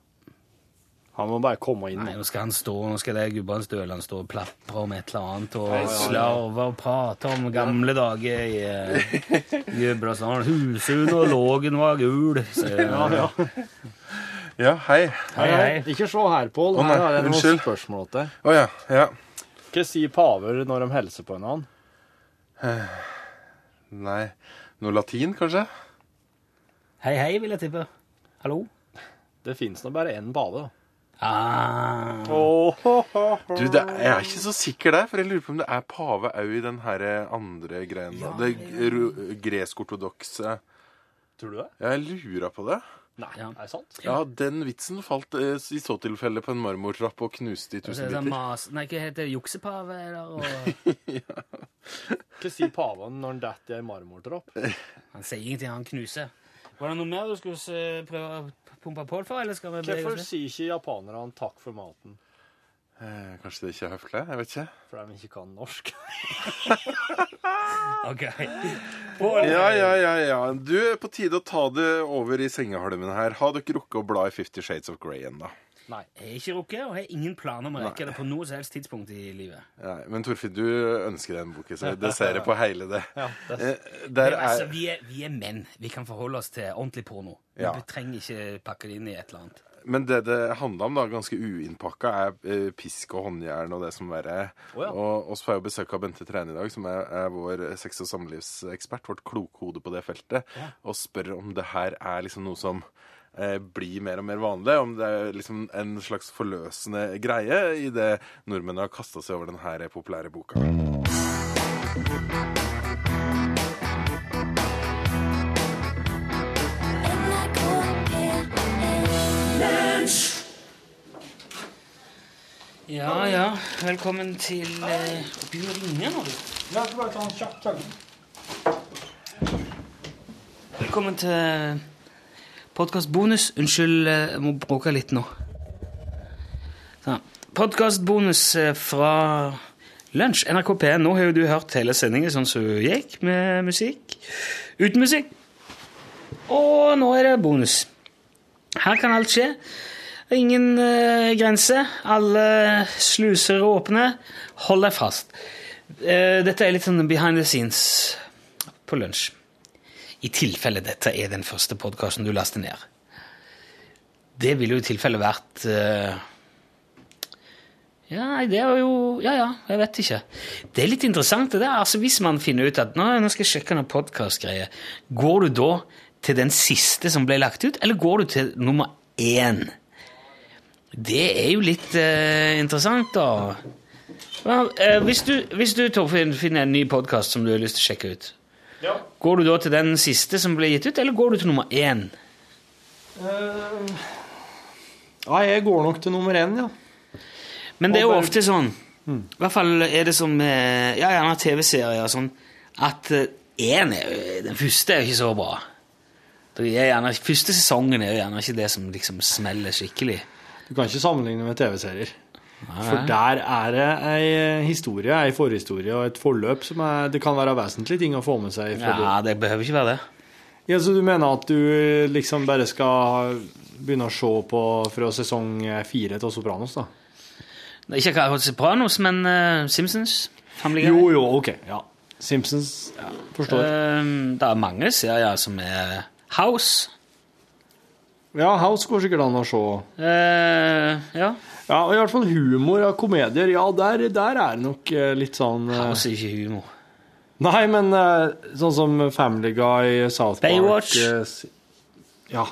S5: Han må bare komme inn.
S2: Nei, nå skal han stå, nå skal det gubben Støland stå og plapre om et eller annet og
S5: ja, ja.
S2: slarve og prate om gamle dager i eh, Gudbrandsdalen. Husund og lågen var gul. Så,
S5: Ja, ja.
S10: Ja, hei.
S2: Hei, hei.
S5: Ikke se her, Pål.
S10: Å, nei,
S5: Her har jeg noen
S10: unnskyld.
S5: spørsmål til deg.
S10: Å ja. ja.
S5: Hva sier paver når de hilser på en annen?
S10: Nei, noe latin, kanskje?
S2: Hei, hei, vil jeg tippe. Hallo?
S5: Det fins nå bare én pave, da.
S2: Ah,
S10: Du, det, jeg er ikke så sikker der, for jeg lurer på om det er pave au i den her andre greien. da. det gr- gresk-ortodokse
S5: Tror du det?
S10: Ja, Jeg lurer på det.
S5: Nei,
S2: Ja.
S5: er det sant?
S10: Ja, den vitsen falt eh, i så tilfelle på en marmortrapp og knuste i
S2: så
S10: tusen
S2: er det
S10: biter.
S2: mas... Nei, hva heter det? Juksepave? Eller? Og...
S5: Hva sier paven når han detter i ei marmortrapp?
S2: Han sier ingenting, han knuser. Var det noe mer du skulle eh, prøve å pumpe på for, eller skal vi bevege
S5: Hvorfor
S2: oss?
S5: sier ikke japanerne 'takk for maten'?
S10: Eh, Kanskje det ikke er høflig? Jeg vet ikke.
S5: Fordi de ikke kan norsk.
S2: [LAUGHS] Ok. Eh.
S10: Ja, ja, ja, ja. Du, på tide å ta det over i sengehalmen her. Har dere rukket å bla i Fifty Shades of Grey ennå?
S2: Jeg har ikke rukket, og jeg har ingen planer om å rekke det på noe som helst tidspunkt i livet.
S10: Nei, men Torfinn, du ønsker deg en bok, så det ser jeg på hele det.
S5: det-
S10: Eh, Der
S2: Men altså,
S10: er,
S2: vi, er, vi er menn. Vi kan forholde oss til ordentlig porno.
S10: Ja.
S2: Vi trenger ikke pakke det inn i et eller annet.
S10: men det det handler om, da, ganske uinnpakka, er eh, pisk og håndjern og det som verre er.
S5: Å, ja.
S10: Og oss får jo besøk av Bente Trene i dag, som er, er vår sex- og samlivsekspert, vårt klokhode på det feltet, og spør om det her er liksom noe som eh, blir mer og mer vanlig, om det er liksom en slags forløsende greie i det nordmennene har kasta seg over den her populære boka.
S2: Ja, ja. Velkommen til eh, Begynn å ringe nå, du. Velkommen til podkastbonus. Unnskyld, eh, jeg må bråke litt nå. Podkastbonus eh, fra Lunsj, NRK P1. Nå har jo du hørt hele sendingen sånn som hun gikk, med musikk. Uten musikk. Og nå er det bonus. Her kan alt skje. Ingen eh, grense. Alle sluser er åpne. Hold deg fast. Eh, dette er litt sånn behind the scenes på lunsj. I tilfelle dette er den første podkasten du laster ned. Det ville jo i tilfelle vært eh, Ja, nei, det var jo Ja, ja, jeg vet ikke. Det er litt interessant, det der. Altså, hvis man finner ut at nå, nå skal jeg sjekke noen podkastgreier, går du da til den siste som ble lagt ut, eller går du til nummer én? Det er jo litt eh, interessant, da. Ja, eh, hvis, du, hvis du, Torfinn, finner en ny podkast som du har lyst til å sjekke ut, går du da til den siste som ble gitt ut, eller går du til nummer én?
S5: Eh, Nei, jeg går nok til nummer én, ja.
S2: Men det er jo
S5: Og bare- Mm.
S2: ofte sånn, i hvert fall er det sånn med eh, ja, gjerne TV-serier og sånn, at eh, én er jo- den første er jo ikke så bra. Det er gjerne, første sesongen er jo gjerne ikke det som liksom smeller skikkelig.
S5: Du kan ikke sammenligne med TV-serier. For der er det ei historie, ei forhistorie og et forløp som er, det kan være vesentlige ting å få med seg. fra
S2: Ja, det behøver ikke være det.
S5: det. Ja, så du mener at du liksom bare skal begynne å se på fra sesong fire til Sopranos, da?
S2: Det er Ikke akkurat Sopranos, men eh, Simpsons. Family Guy.
S5: Jo, jo, ok. Ja. Simpsons. Ja, forstår.
S2: Eh, det er mange serier som er House.
S5: Ja, House går sikkert an å se.
S2: Eh, ja.
S5: Ja, og i hvert fall humor og komedier. Ja, der, der er det nok eh, litt sånn eh,
S2: House er ikke humor.
S5: Nei, men eh, sånn som Family Guy, South Park
S2: Baywatch.
S5: eh, s- Ja.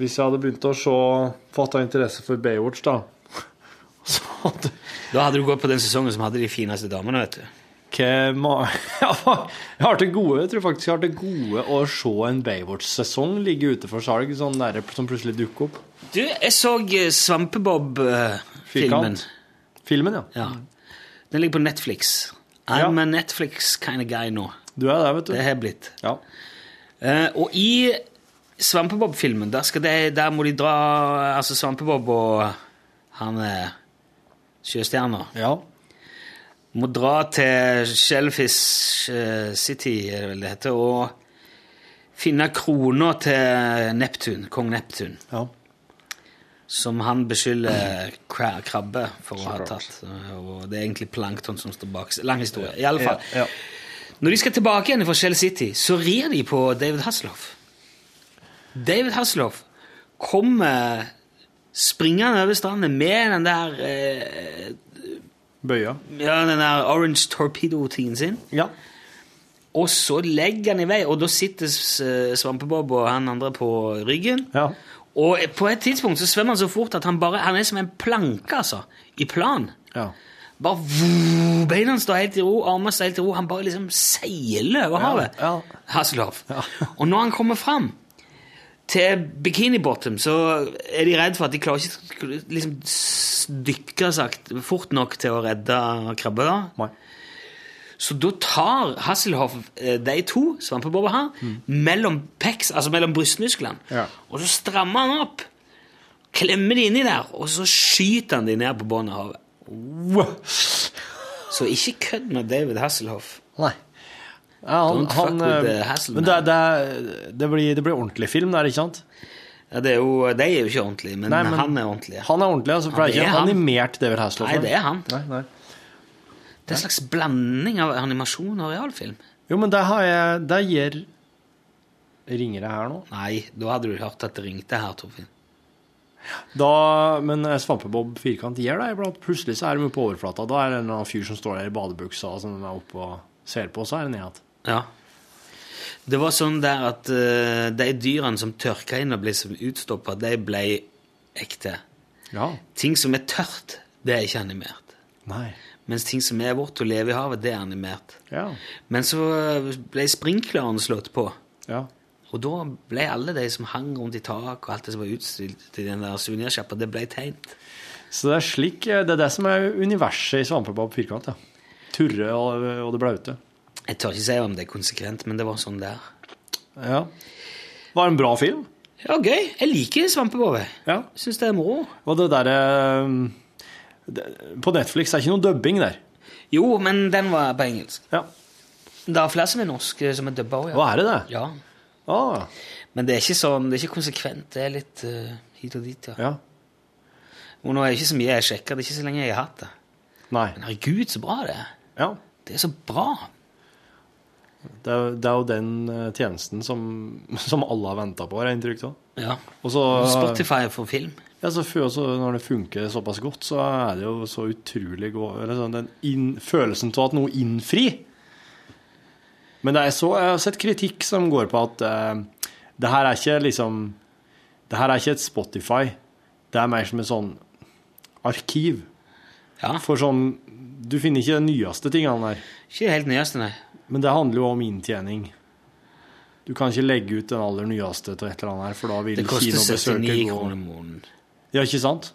S5: Hvis jeg hadde begynt å se Fatta interesse for Baywatch, da [LAUGHS] Så hadde
S2: Da hadde du gått på den sesongen som hadde de fineste damene, vet du.
S5: ikke ma- [LAUGHS] Ja, Jeg har til gode jeg tror faktisk jeg har til gode å se en Baywatch-sesong ligge ute for salg, sånn der, som plutselig dukker opp.
S2: Du, jeg så eh, Svampebob-filmen.
S5: Firkant. Filmen, ja.
S2: Ja. Den ligger på Netflix. I'm
S5: Ja.
S2: a Netflix kind of guy nå.
S5: Du er der, vet
S2: Det
S5: du.
S2: har jeg blitt.
S5: Ja.
S2: Eh, og i Svampebob-filmen, der, skal de, der må de dra Altså Svampebob og han eh, sjøstjerna
S5: ja.
S2: må dra til Shellfish eh, City, er det vel det heter, og finne krona til Neptun, kong Neptun,
S5: ja.
S2: som han beskylder kra- krabbe for å ha tatt. Og det er egentlig plankton som står bak. Lang historie. i alle fall.
S5: Ja, ja.
S2: Når de skal tilbake igjen fra Shell City, så rir de på David Hasselhoff. David Hasselhoff kommer springende over stranden med den der, eh,
S5: Bøya.
S2: ja, den der orange torpedo-tingen sin,
S5: Ja.
S2: og så legger han i vei, og da sitter s- eh, Svampebob og han andre på ryggen,
S5: Ja.
S2: og på et tidspunkt så svømmer han så fort at han bare, han er som en planke, altså, i plan.
S5: ja.
S2: Bare voo, Beina står helt i ro, armene står helt i ro. Han bare liksom seiler over havet.
S5: ja.
S2: Hasselhoff. [LAUGHS] Og når han kommer fram til Bikini Bottom, så er de redd for at de klarer ikke å liksom, s- dykke sagt, fort nok til å redde krabbe. da.
S5: Nei.
S2: Så da tar Hasselhoff eh, de to, svampebobba her, mellom pecs, altså mellom brystmusklene,
S5: Mm. Ja.
S2: og så strammer han opp, klemmer de inni der, og så skyter han de ned på bånn av havet. Så ikke kødd med David Hasselhoff.
S5: Nei. Ja, han,
S2: Don't fuck
S5: han,
S2: with
S5: eh,
S2: the hassle,
S5: men det, det, det, blir, det blir ordentlig film der, ikke sant?
S2: Ja, det er jo, de er jo ikke ordentlige, men,
S5: Nei, men-
S2: han er ordentlig.
S5: Han er ordentlig, altså. for
S2: Han
S5: det er
S2: er
S5: ikke
S2: han.
S5: animert David Hasselhoff.
S2: Nei, det er han.
S5: Nei, nei.
S2: Det er en slags blanding av animasjon og realfilm.
S5: Jo, men det har jeg Det gir Ringer det her nå?
S2: Nei, da hadde du hørt at det ringte her, Torfinn.
S5: Da, men eh, Svampebob Firkant gir det iblant. Plutselig så er de oppe på overflata. Da er det en eller annen fyr som står der i badebuksa og som er oppe og ser på, så er det ned igjen.
S2: Ja. Det var sånn der at eh, de dyrene som tørka inn og ble som utstoppa, de ble ekte.
S5: Ja.
S2: Ting som er tørt, det er ikke animert.
S5: Nei.
S2: Mens ting som er vårt og lever i havet, det er animert.
S5: Ja.
S2: Men så eh, ble sprinkleren slått på.
S5: Ja.
S2: Og da ble alle de som hang rundt i tak og alt det som var utstilt i den der souvenirsjappa, det ble tegnt.
S5: Så det er slik eh, Det er det som er universet i Svampebob Firkant, ja. Turre og, og det blaute.
S2: Jeg tør ikke si om det er konsekvent, men det var sånn der.
S5: Ja. Var en bra film.
S2: Ja, gøy. Jeg liker svampebob. Jeg
S5: Ja.
S2: syns det er moro.
S5: Og det derre um, det- På Netflix er det ikke noe dubbing der.
S2: Jo, men den var på engelsk.
S5: Ja.
S2: Det er flere som er norske, som er dubba òg, ja.
S5: Hva er det, det?
S2: ja.
S5: Ah,
S2: Men det er ikke sånn, det er ikke konsekvent. Det er litt eh, hit og dit, ja.
S5: ja.
S2: Og nå er det ikke så mye jeg sjekker, det er ikke så lenge jeg har hatt det.
S5: Nei.
S2: Men herregud, så bra det er.
S5: Ja.
S2: Det er så bra.
S5: Det er, det er jo den eh, tjenesten som, [LAUGHS] som alle har venta på, har jeg inntrykk av.
S2: Ja.
S5: Og så,
S2: Spotify for film.
S5: ja, så før, så når det funker såpass godt, så er det jo så utrolig god eller sånn, Den inn, følelsen av at noe innfri. Men det er så, jeg har sett kritikk som går på at eh, det her er ikke liksom Det her er ikke et Spotify. Det er mer som et sånn arkiv.
S2: Ja.
S5: For sånn Du finner ikke de nyeste tingene der.
S2: Ikke helt nyeste, nei.
S5: Men det handler jo om inntjening. Du kan ikke legge ut den aller nyeste til et eller annet her, for da vil
S2: Det koster
S5: kinobesøket
S2: 79
S5: gå
S2: kroner måneden.
S5: Ja, ikke sant?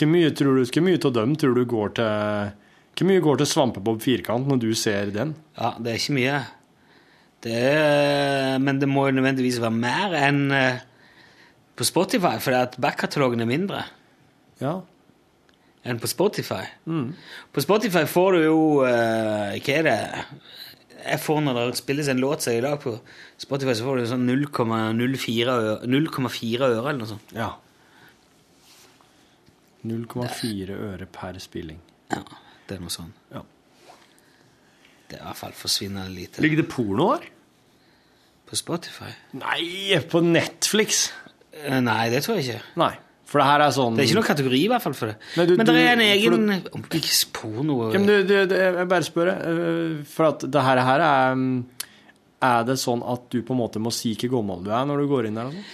S5: Hvor mye, tror du, hvor mye av dem tror du går til Hvor mye går til Svampebob Firkant når du ser den?
S2: Ja, det er ikke mye. Det er, men det må jo nødvendigvis være mer enn eh, på Spotify, for at backkatalogen er mindre
S5: Ja. Mm.
S2: enn på Spotify. På Spotify får du jo eh, Hva er det jeg får Når det spilles en låt som i dag på Spotify, så får du sånn 0,04 øre, 0,4 øre eller noe sånt.
S5: ja. 0,4 øre per spilling.
S2: Ja, det er noe sånn.
S5: Ja.
S2: Det er i hvert fall forsvinnende lite.
S5: Ligger det porno her?
S2: På Spotify?
S5: Nei, på Netflix.
S2: Eh, Nei, det tror jeg ikke.
S5: Nei. For det her er sånn
S2: Det er ikke noen kategori, i hvert fall, for det.
S5: Nei, du-
S2: men det er en
S5: du-
S2: egen
S5: for
S2: Om det ikke er porno
S5: Ja, men du, du, du, jeg bare spør, eh, for at det her, her er mm, Er det sånn at du på en måte må si hvor gammel du er når du går inn der? og sånn?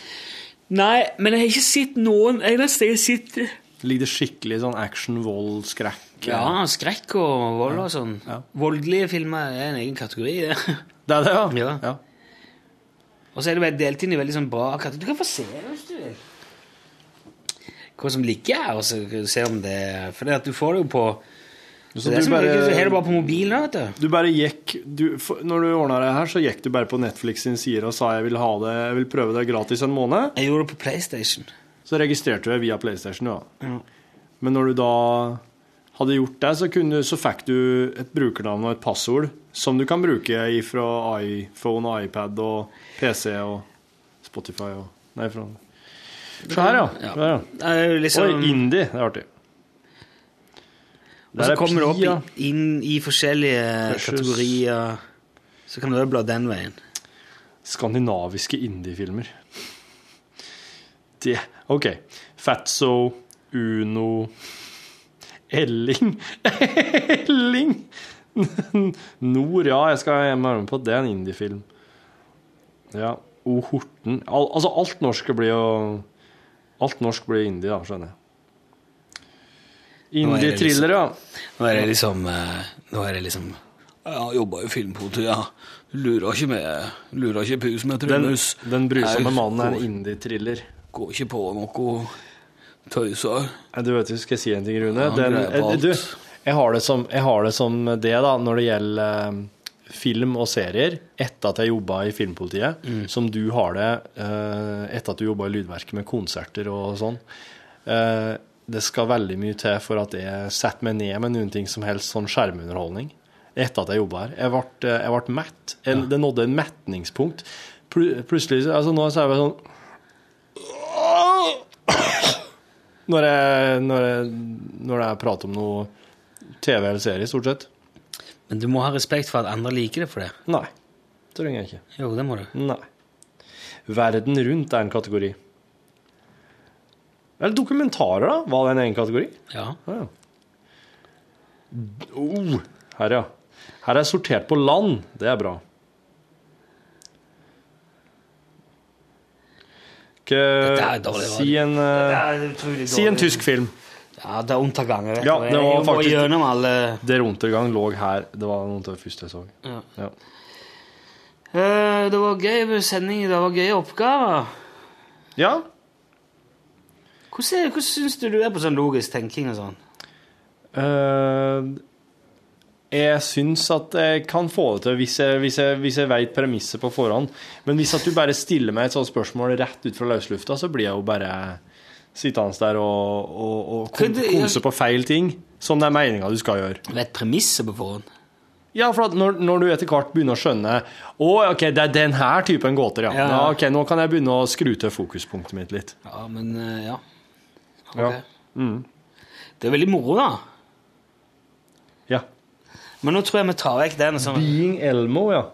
S2: Nei, men jeg har ikke sett noen Eneste jeg har sett
S5: Ligger det skikkelig sånn action, vold, skrekk?
S2: Ja, skrekk og vold og sånn.
S5: Ja.
S2: Voldelige filmer er en egen kategori. det. [LAUGHS]
S5: Det er det, ja?
S2: Ja. Og så er det bare delt inn i veldig sånn bra kategorier. Du kan få se hvis du vil. Hva som ligger her, og så kan du se om det For det at du får det jo på
S5: Så
S2: Det er
S5: du
S2: som bare...
S5: bare-
S2: har det bare på mobilen, da, vet du.
S5: Du bare gikk du, for, Når du ordna det her, så gikk du bare på Netflix sin side og sa jeg vil ha det, jeg vil prøve det gratis en måned.
S2: Jeg gjorde det på PlayStation.
S5: Så registrerte du det via PlayStation, ja.
S2: Ja.
S5: Men når du da hadde gjort det, så, kunne, så fikk du et brukernavn og et passord som du kan bruke fra iPhone og iPad og PC og Spotify og Nei, fra Se her, ja.
S2: Ja.
S5: Se her, ja.
S2: Det er jo liksom...
S5: Oi, indie. Det er artig.
S2: Og så kommer du opp
S5: Pia.
S2: i- inn i forskjellige
S5: Versus-
S2: kategorier. Så kan du jo bla den veien.
S5: Skandinaviske indiefilmer. Det OK. Fatso, Uno Elling [LAUGHS] Elling! Nord, ja. Jeg skal jeg må være med på at det er en indiefilm. Ja. O Horten Al, Altså, alt norsk blir jo Alt norsk blir indie, da, skjønner jeg.
S2: Nå er det liksom-
S5: Indie-thriller, ja.
S2: Nå er det liksom eh, Nå er det liksom Ja, jobba i filmpolitiet, ja. Lurer ikke med Lurer ikke pus med
S5: Den,
S2: tryllus.
S5: den brusomme
S2: Jeg
S5: mannen er
S2: går-
S5: en indie-thriller.
S2: Går ikke på noe tøyser.
S5: Nei, Du vet, jo, skal jeg si en ting, Rune?
S2: Ja, han
S5: Den,
S2: greier på
S5: eh, du,
S2: alt.
S5: jeg, har det som, jeg har det som det, da, når det gjelder eh, film og serier, etter at jeg jobba i Filmpolitiet,
S2: Mm.
S5: som du har det eh, etter at du jobba i Lydverket med konserter og sånn. Eh, det skal veldig mye til for at jeg setter meg ned med noen ting som helst sånn skjermunderholdning etter at jeg jobba her. Jeg ble, eh, jeg ble mett. Jeg, Det nådde en metningspunkt. Plu- Plutselig altså Nå så er jeg bare sånn Når, jeg, når, jeg, når jeg prater om noe TV eller serie, stort sett.
S2: Men du må ha respekt for at andre liker det for det.
S5: Nei. Det trenger jeg ikke.
S2: Jo, det må du.
S5: Nei. Verden rundt er en kategori. Eller dokumentarer, da. Var det en egen kategori?
S2: Ja.
S5: Ja. Oh, her, ja. Her er sortert på land. Det er bra. Ikke,
S2: er dårlig radio.
S5: si en, eh, si en tysk film.
S2: Ja, det er underganger, vet
S5: Ja,
S2: du.
S5: det
S2: Jeg
S5: var
S2: må
S5: faktisk-
S2: gjennom alle
S5: Der Untergang lå her. Det var noe av det første jeg så.
S2: Ja.
S5: Ja.
S2: Eh, Det var gøy sending, det var gøye oppgaver.
S5: ja.
S2: Hvordan, er- hvordan syns du du er på sånn logisk tenking og sånn?
S5: Eh, jeg syns at jeg kan få det til hvis jeg, hvis jeg, hvis jeg veit premisset på forhånd. Men hvis at du bare stiller meg et sånt spørsmål rett ut fra løslufta, så blir jeg jo bare sittende der og, og, og kon-
S2: Kan du- jeg-
S5: konse på feil ting. Som det er meninga du skal gjøre.
S2: Vet premisset på forhånd?
S5: Ja, for at når, når du etter hvert begynner å skjønne Å, ok, det er den her typen gåter, ja. ja.
S2: Ja.
S5: ok, Nå kan jeg begynne å skru til fokuspunktet mitt litt.
S2: Ja, men eh, ja. Ok.
S5: Ja. Mm.
S2: Det er veldig moro, da.
S5: ja.
S2: Men nå tror jeg vi tar vekk den. Som,
S5: Being Elmo, ja.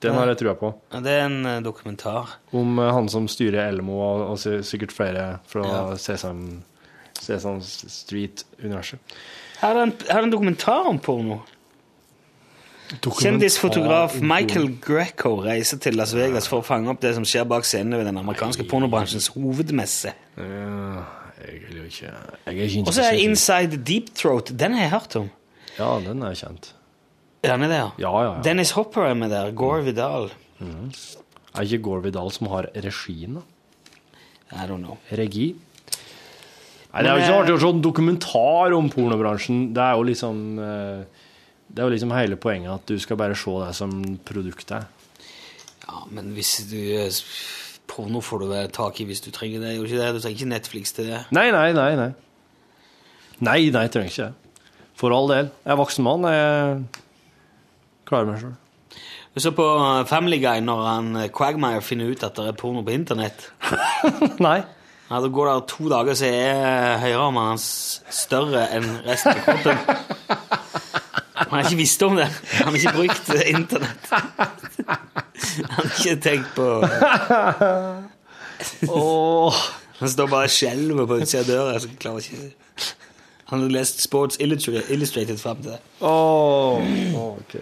S5: Den har jeg trua på.
S2: Ja, det er en eh, dokumentar.
S5: Om eh, han som styrer Elmo, og, og si- sikkert flere fra Sesam, Sesam Street-universet.
S2: Her er, en, her er en dokumentar om porno. Kjendisfotograf Michael Greco reiser til Las Vegas for å fange opp det som skjer bak scenene ved den amerikanske pornobransjens hovedmesse.
S5: Ja, Jeg er jo ikke Jeg er ikke
S2: Og så er
S5: interessert i-
S2: Inside Deep Throat. Den har jeg hørt om.
S5: Ja, den er kjent.
S2: Er den med der?
S5: Ja, ja, ja.
S2: Dennis Hopper er med der. Gore Vidal.
S5: Er ikke Gore Vidal som har regien, da?
S2: I don't know.
S5: Regi? Nei, det er jo ikke så
S2: Men, eh,
S5: artig å se en dokumentar om pornobransjen. Det er jo liksom eh, Det er jo liksom hele poenget at du skal bare se det som produktet er.
S2: Ja, men hvis du eh, Porno får du vel tak i hvis du trenger det. Gjør du ikke det? Du trenger ikke Netflix til det.
S5: Nei, nei, nei. Nei, nei, nei trenger ikke det. For all del. Jeg er voksen mann. Jeg klarer meg sjøl.
S2: Du så på eh, Family Guy når han eh, Quagmire finner ut at det er porno på internett.
S5: nei.
S2: Ja, Da går det to dager, så er høyrearmen hans større enn resten av kroppen. Han har ikke visst om det. Han har ikke brukt eh, internett. Han har ikke tenkt på eh,
S5: Åh.
S2: Han står bare og skjelver på utsida av døra. Så klarer ikke. Han har lest Sports Illustrated, Illustrated fram til det.
S5: Åh, ok.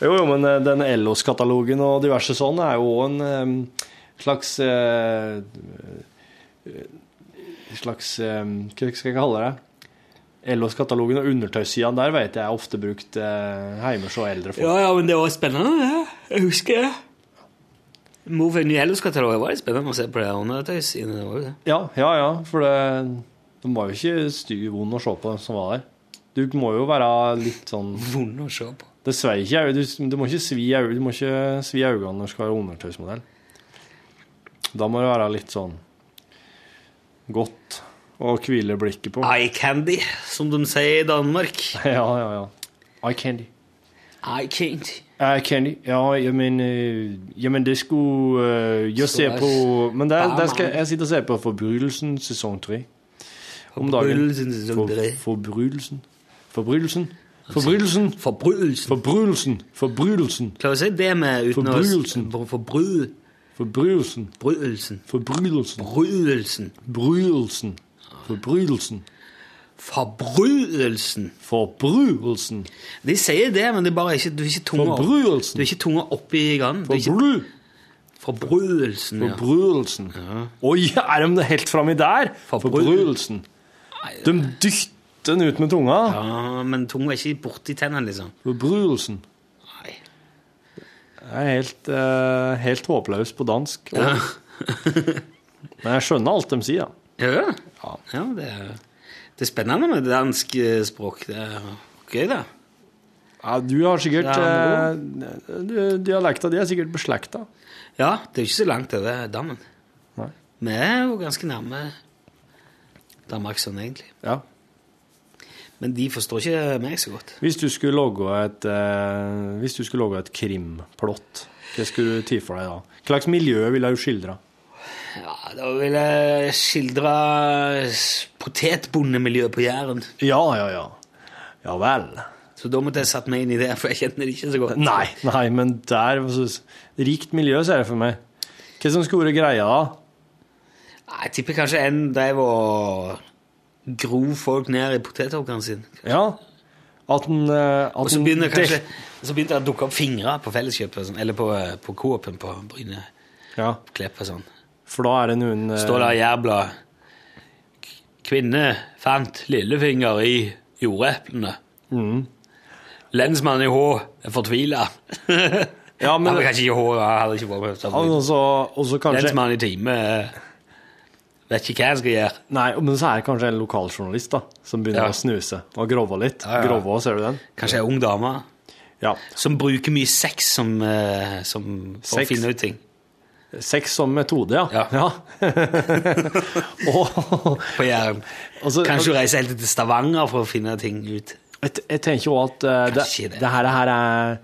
S5: Jo, jo, men eh, den Ellos-katalogen og diverse sånne er jo også en eh, slags eh, eh, Slags eh, Hva skal jeg kalle det? Ellos-katalogen og undertøysida der vet jeg er ofte brukt eh, hjemme hos eldre folk.
S2: Ja, ja, men det var spennende, det. Jeg husker det. Move New Ellos-katalogen var litt spennende å se på det undertøys inni det. var jo det.
S5: Ja, ja, ja for det, de var jo ikke styr vond å se på, de som var der. Du må jo være litt sånn
S2: Vond å se på.
S5: Det svei ikke i øyet. Du, du må ikke svi i øyet. Du må ikke svi i øynene når du skal være undertøysmodell. Da må det være litt sånn godt å hvile blikket på.
S2: Eye candy, som de sier i Danmark.
S5: [LAUGHS] Ja, ja, ja. Eye candy.
S2: Eye candy.
S5: Eye candy. Ja, jeg men, eh, jeg men det skulle eh, Jeg ser på Men der, der skal jeg sitte og se på Forbrytelsen sesong tre. Om dagen.
S2: Forbrytelsen sesong
S5: For,
S2: tre.
S5: forbrytelsen. Forbrytelsen. Forbrytelsen.
S2: Forbrytelsen.
S5: Forbrytelsen. Forbrytelsen.
S2: Klarer du å si det med uten
S5: Forbrytelsen.
S2: å Forbrytelsen.
S5: Forbrytelsen.
S2: Forbrytelsen.
S5: Forbrytelsen.
S2: Forbrytelsen.
S5: Forbrytelsen. Forbrytelsen.
S2: Forbrytelsen.
S5: Forbrytelsen.
S2: De sier det, men det er bare ikke, du er ikke tunga opp- du
S5: Forbrytelsen.
S2: er ikke tunga oppi ganen. Du er ikke-
S5: Forbry-
S2: Forbrytelsen, ja.
S5: Forbrytelsen. Oi, er de helt framme der? Forbrytelsen. De dytter den ut med tunga.
S2: ja. Men tunga er ikke borti tennene, liksom.
S5: Forbrytelsen.
S2: Nei.
S5: Jeg er helt, eh, helt håpløs på dansk. Men jeg skjønner alt de sier.
S2: Ja, ja det, er, det er spennende med dansk eh, språk. Det er gøy, det.
S5: Ja, du har sikkert
S2: Ja,
S5: eh, du- Dialekta di er sikkert beslekta.
S2: Ja, det er jo ikke så langt over dammen.
S5: Nei.
S2: Vi er jo ganske nærme Danmark sånn, egentlig.
S5: Ja.
S2: Men de forstår ikke meg så godt.
S5: Hvis du skulle logge et, eh, hvis du skulle logge et krimplott, hva skulle du ti for deg da? Hva slags miljø ville du skildre?
S2: Ja, Da vil jeg skildre s- potetbondemiljøet på Jæren.
S5: Ja, ja, ja. Ja vel.
S2: Så da måtte jeg satt meg inn i det, for jeg kjenner det ikke så godt.
S5: Nei, nei, men der så, Rikt miljø, ser jeg for meg. Hva som skulle vært greia da?
S2: Nei, Jeg tipper kanskje en drev og gro folk ned i potetåkeren sin.
S5: Ja. At den eh, at
S2: Og så
S5: den
S2: begynner kanskje
S5: dek-
S2: så begynte det å dukke opp fingre på Felleskjøpet, og sånn, eller på, eh, på Coop-en på Bryne.
S5: Ja,
S2: Klepp og sånn.
S5: for da er det noen eh,
S2: Står der i jærbladet. K- Kvinne fant lillefinger i jordeplene.
S5: Mm.
S2: Lensmannen i Hå er fortvila.
S5: Ja, men-
S2: Han var kanskje ikke i Hå, han hadde ikke vært
S5: Ja, men
S2: med.
S5: også- også kanskje
S2: Lensmannen i Time eh, vet ikke hva han skal gjøre.
S5: Nei, men så er det kanskje en lokaljournalist da, som begynner
S2: Ja.
S5: å snuse og grove litt.
S2: Ja, ja.
S5: Grove, ser du den?
S2: Kanskje ei ung dame
S5: Ja.
S2: som bruker mye sex som, eh, som for
S5: Sex?
S2: å finne ut ting.
S5: Sex som metode, ja. [LAUGHS]
S2: Ja.
S5: og, [LAUGHS]
S2: På Jæren.
S5: og så-
S2: Kanskje hun reiser helt til Stavanger for å finne ting ut.
S5: Jeg, jeg tenker jo at eh, det,
S2: Kanskje det.
S5: det her, her er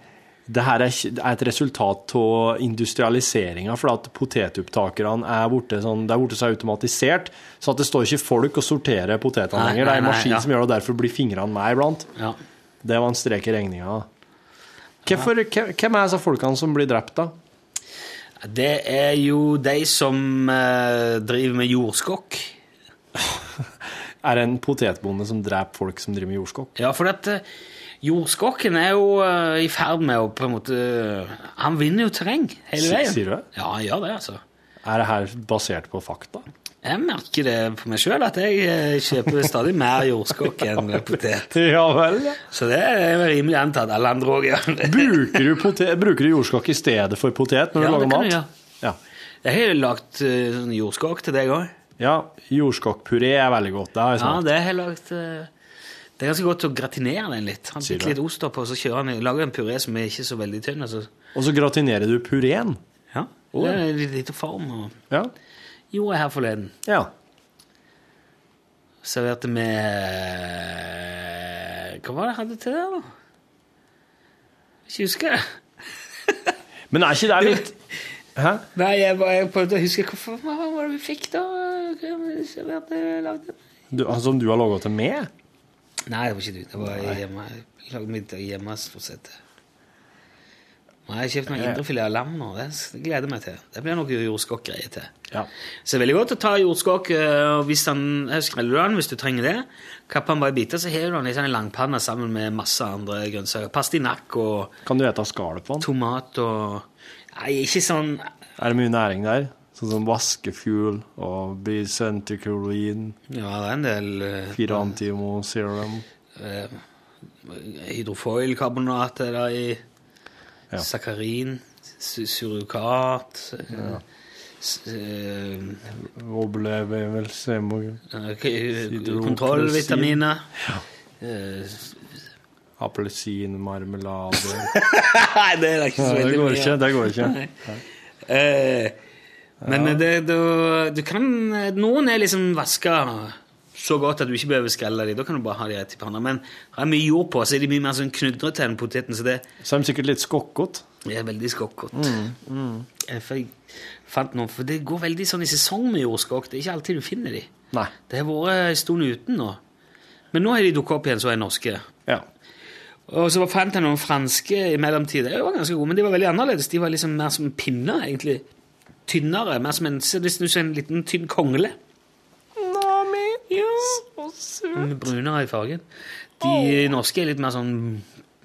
S5: det her er, ikke- det er et resultat av industrialiseringa, for at potetopptakerne er borte, sånn, det er borte så automatisert. Så at det står ikke folk og sorterer potetene
S2: Nei,
S5: lenger. Det er en
S2: nei, nei,
S5: maskin
S2: ja.
S5: som gjør det, og derfor blir fingrene med iblant.
S2: Ja.
S5: Det var en strek i regninga. Hvorfor, hve- hvem er disse folkene som blir drept, da?
S2: Det er jo de som eh, driver med jordskokk.
S5: Er det en potetbonde som dreper folk som driver med jordskokk?
S2: Ja, for at eh, jordskokken er jo eh, i ferd med å på en måte eh, Han vinner jo terreng hele
S5: Si-
S2: veien.
S5: sier du det?
S2: Ja, han gjør det, altså.
S5: Er det her basert på fakta?
S2: Jeg merker det på meg sjøl at jeg eh, kjøper stadig mer jordskokk enn
S5: [LAUGHS]
S2: potet.
S5: Ja vel, ja.
S2: Så det er jo rimelig antatt. Alle andre òg gjør det.
S5: Bruker du, pote- bruker du jordskokk i stedet for potet
S2: Ja,
S5: når du
S2: det
S5: lager
S2: kan
S5: mat?
S2: du gjøre.
S5: Ja.
S2: [LAUGHS] Jeg har jo lagt eh, sånn jordskokk til deg òg.
S5: Ja, jordskokkpuré er veldig godt. Det har jeg
S2: Ja,
S5: smakt.
S2: det har jeg lagt. eh, Det er ganske godt å gratinere den litt. Han putter litt ost oppå, og så kjører han, lager en puré som er ikke så veldig tynn. Altså.
S5: Og så gratinerer du pureen.
S2: Ja, det er litt lite form. Og...
S5: Ja.
S2: Gjorde jeg her forleden.
S5: ja.
S2: Serverte med Hva var det jeg hadde til der, da? Ikke husker jeg.
S5: Men er ikke det litt Hæ?
S2: Nei, jeg, bare, jeg prøvde å huske hvorfor, hva var det vi fikk, da? Hva serverte jeg lagde?
S5: Du, altså, som du har laga til meg?
S2: Nei, det var ikke du. Det var hjemme. Jeg lagde middag hjemme. stort sett. Nei, Jeg har kjøpt noen indrefilet av lam nå. Det s- det gleder jeg meg til. Det blir noe jordskokkgreier til.
S5: Ja.
S2: Så det er veldig godt å ta jordskokk. eh, og Hvis den, her skreller du den hvis du trenger det. Kapper den bare i biter, så har du den i sånn en langpanne sammen med masse andre grønnsaker. Pastinakk og
S5: Kan du ete skallet på den?
S2: tomat og Nei, ikke sånn
S5: Er det mye næring der? Sånn som vaskefugl og bicentriculin,
S2: Ja, det er en del eh,
S5: firantimo serum
S2: eh, hydrofoilkarbonat er der i
S5: Ja.
S2: Sakarin, su- surukat eh, s- eh,
S5: Overlevelse
S2: eh, k- Kontrollvitaminer. Eh, [LAUGHS]
S5: [LAUGHS] Appelsinmarmelade
S2: Nei, det er ikke så
S5: Det
S2: veldig
S5: går
S2: mye.
S5: ikke. Det går ikke.
S2: Eh, men eh, det, du, du kan Noen er liksom vaska så godt at du ikke behøver skrelle dem. Da kan du bare ha de rett i panna. Men har jeg mye jord på, så er de mye mer sånn knudrete enn poteten. Så det
S5: Så er de sikkert litt skokkot.
S2: er veldig skokkete.
S5: Mm,
S2: Eh, For jeg fant noe For det går veldig sånn i sesong med jordskokk. Det er ikke alltid du finner de.
S5: Nei.
S2: Det har vært en stund uten nå. Men nå har de dukka opp igjen, så er norske.
S5: Ja.
S2: Og så fant jeg noen franske i mellomtiden. De var ganske gode, men de var veldig annerledes. De var liksom mer som pinner, egentlig. Tynnere. Mer som en, ser det ut som en liten tynn kongle. Ja. Mm, Brunere i fargen. De norske er litt mer sånn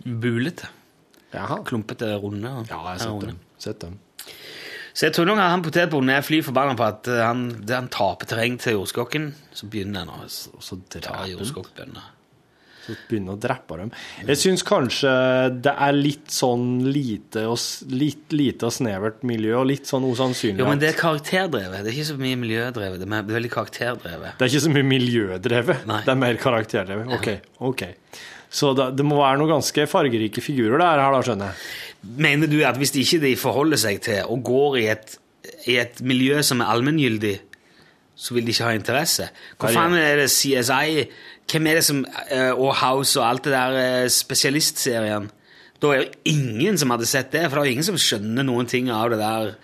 S2: bulete.
S5: Jaha.
S2: Klumpete, runde. og-
S5: Ja, jeg har
S2: er
S5: sett
S2: runde.
S5: dem. Sett dem.
S2: Så jeg tror nok at han potetbonden er fly forbanna på at eh, han, det han taper terreng til jordskokken. Så begynner han å s-
S5: Og så
S2: ta
S5: dreper de.
S2: jordskokkbønder.
S5: Så begynner å drepe dem. Jeg syns kanskje det er litt sånn lite og, s- litt, lite og snevert miljø, og litt sånn usannsynlig.
S2: Jo, men
S5: at-
S2: det er karakterdrevet. Det er ikke så mye miljødrevet. Det er mer- det er veldig karakterdrevet.
S5: Det er ikke så mye miljødrevet.
S2: Nei.
S5: Det er mer karakterdrevet. Ok, ok. Så da, det må være noen ganske fargerike figurer der, her da, skjønner jeg.
S2: Mener du at hvis de ikke de forholder seg til og går i et, i et miljø som er allmenngyldig, så vil de ikke ha interesse? Hva
S5: Ja, ja.
S2: faen er det CSI Hvem er det som eh, Og House og alt det der eh, spesialistserien? Da er det ingen som hadde sett det, for det er jo ingen som skjønner noen ting av det der.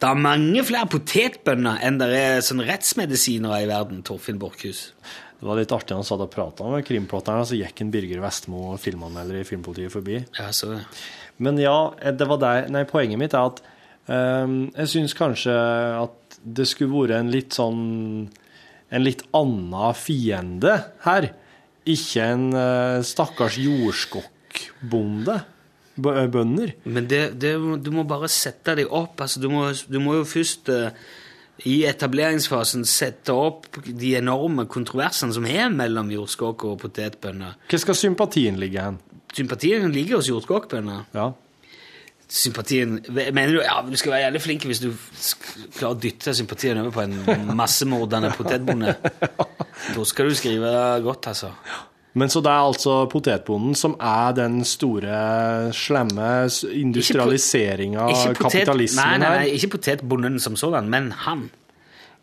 S2: Det er mange flere potetbønder enn det er sånn rettsmedisinere i verden, Torfinn Borchhus.
S5: Det var litt artig han satt og prata med krimplotterne, så gikk en Birger Vestmo og filmanmelder i Filmpolitiet forbi.
S2: Ja, så det.
S5: Men ja, eh, det var det. Nei, poenget mitt er at ehm, jeg syns kanskje at det skulle vært en litt sånn En litt anna fiende her. Ikke en eh, stakkars jordskokkbonde. Bø- eh, Bønder.
S2: Men det, det, du må bare sette deg opp. Altså, du, må, du må jo først eh, i etableringsfasen sette opp de enorme kontroversene som er mellom jordskokker og potetbønder.
S5: Hvor skal sympatien ligge hen?
S2: Sympatien ligger hos jordskokkbønder.
S5: Ja.
S2: Sympatien, Mener du ja, du skal være jævlig flink hvis du sk- klarer å dytte sympatien over på en massemordende
S5: [LAUGHS]
S2: potetbonde? Da skal du skrive godt, altså.
S5: Men så det er altså potetbonden som er den store, slemme s- industrialiseringa av
S2: Ikke potet- nei,
S5: kapitalismen
S2: nei, nei,
S5: her?
S2: ikke potetbonden som sådan, men han.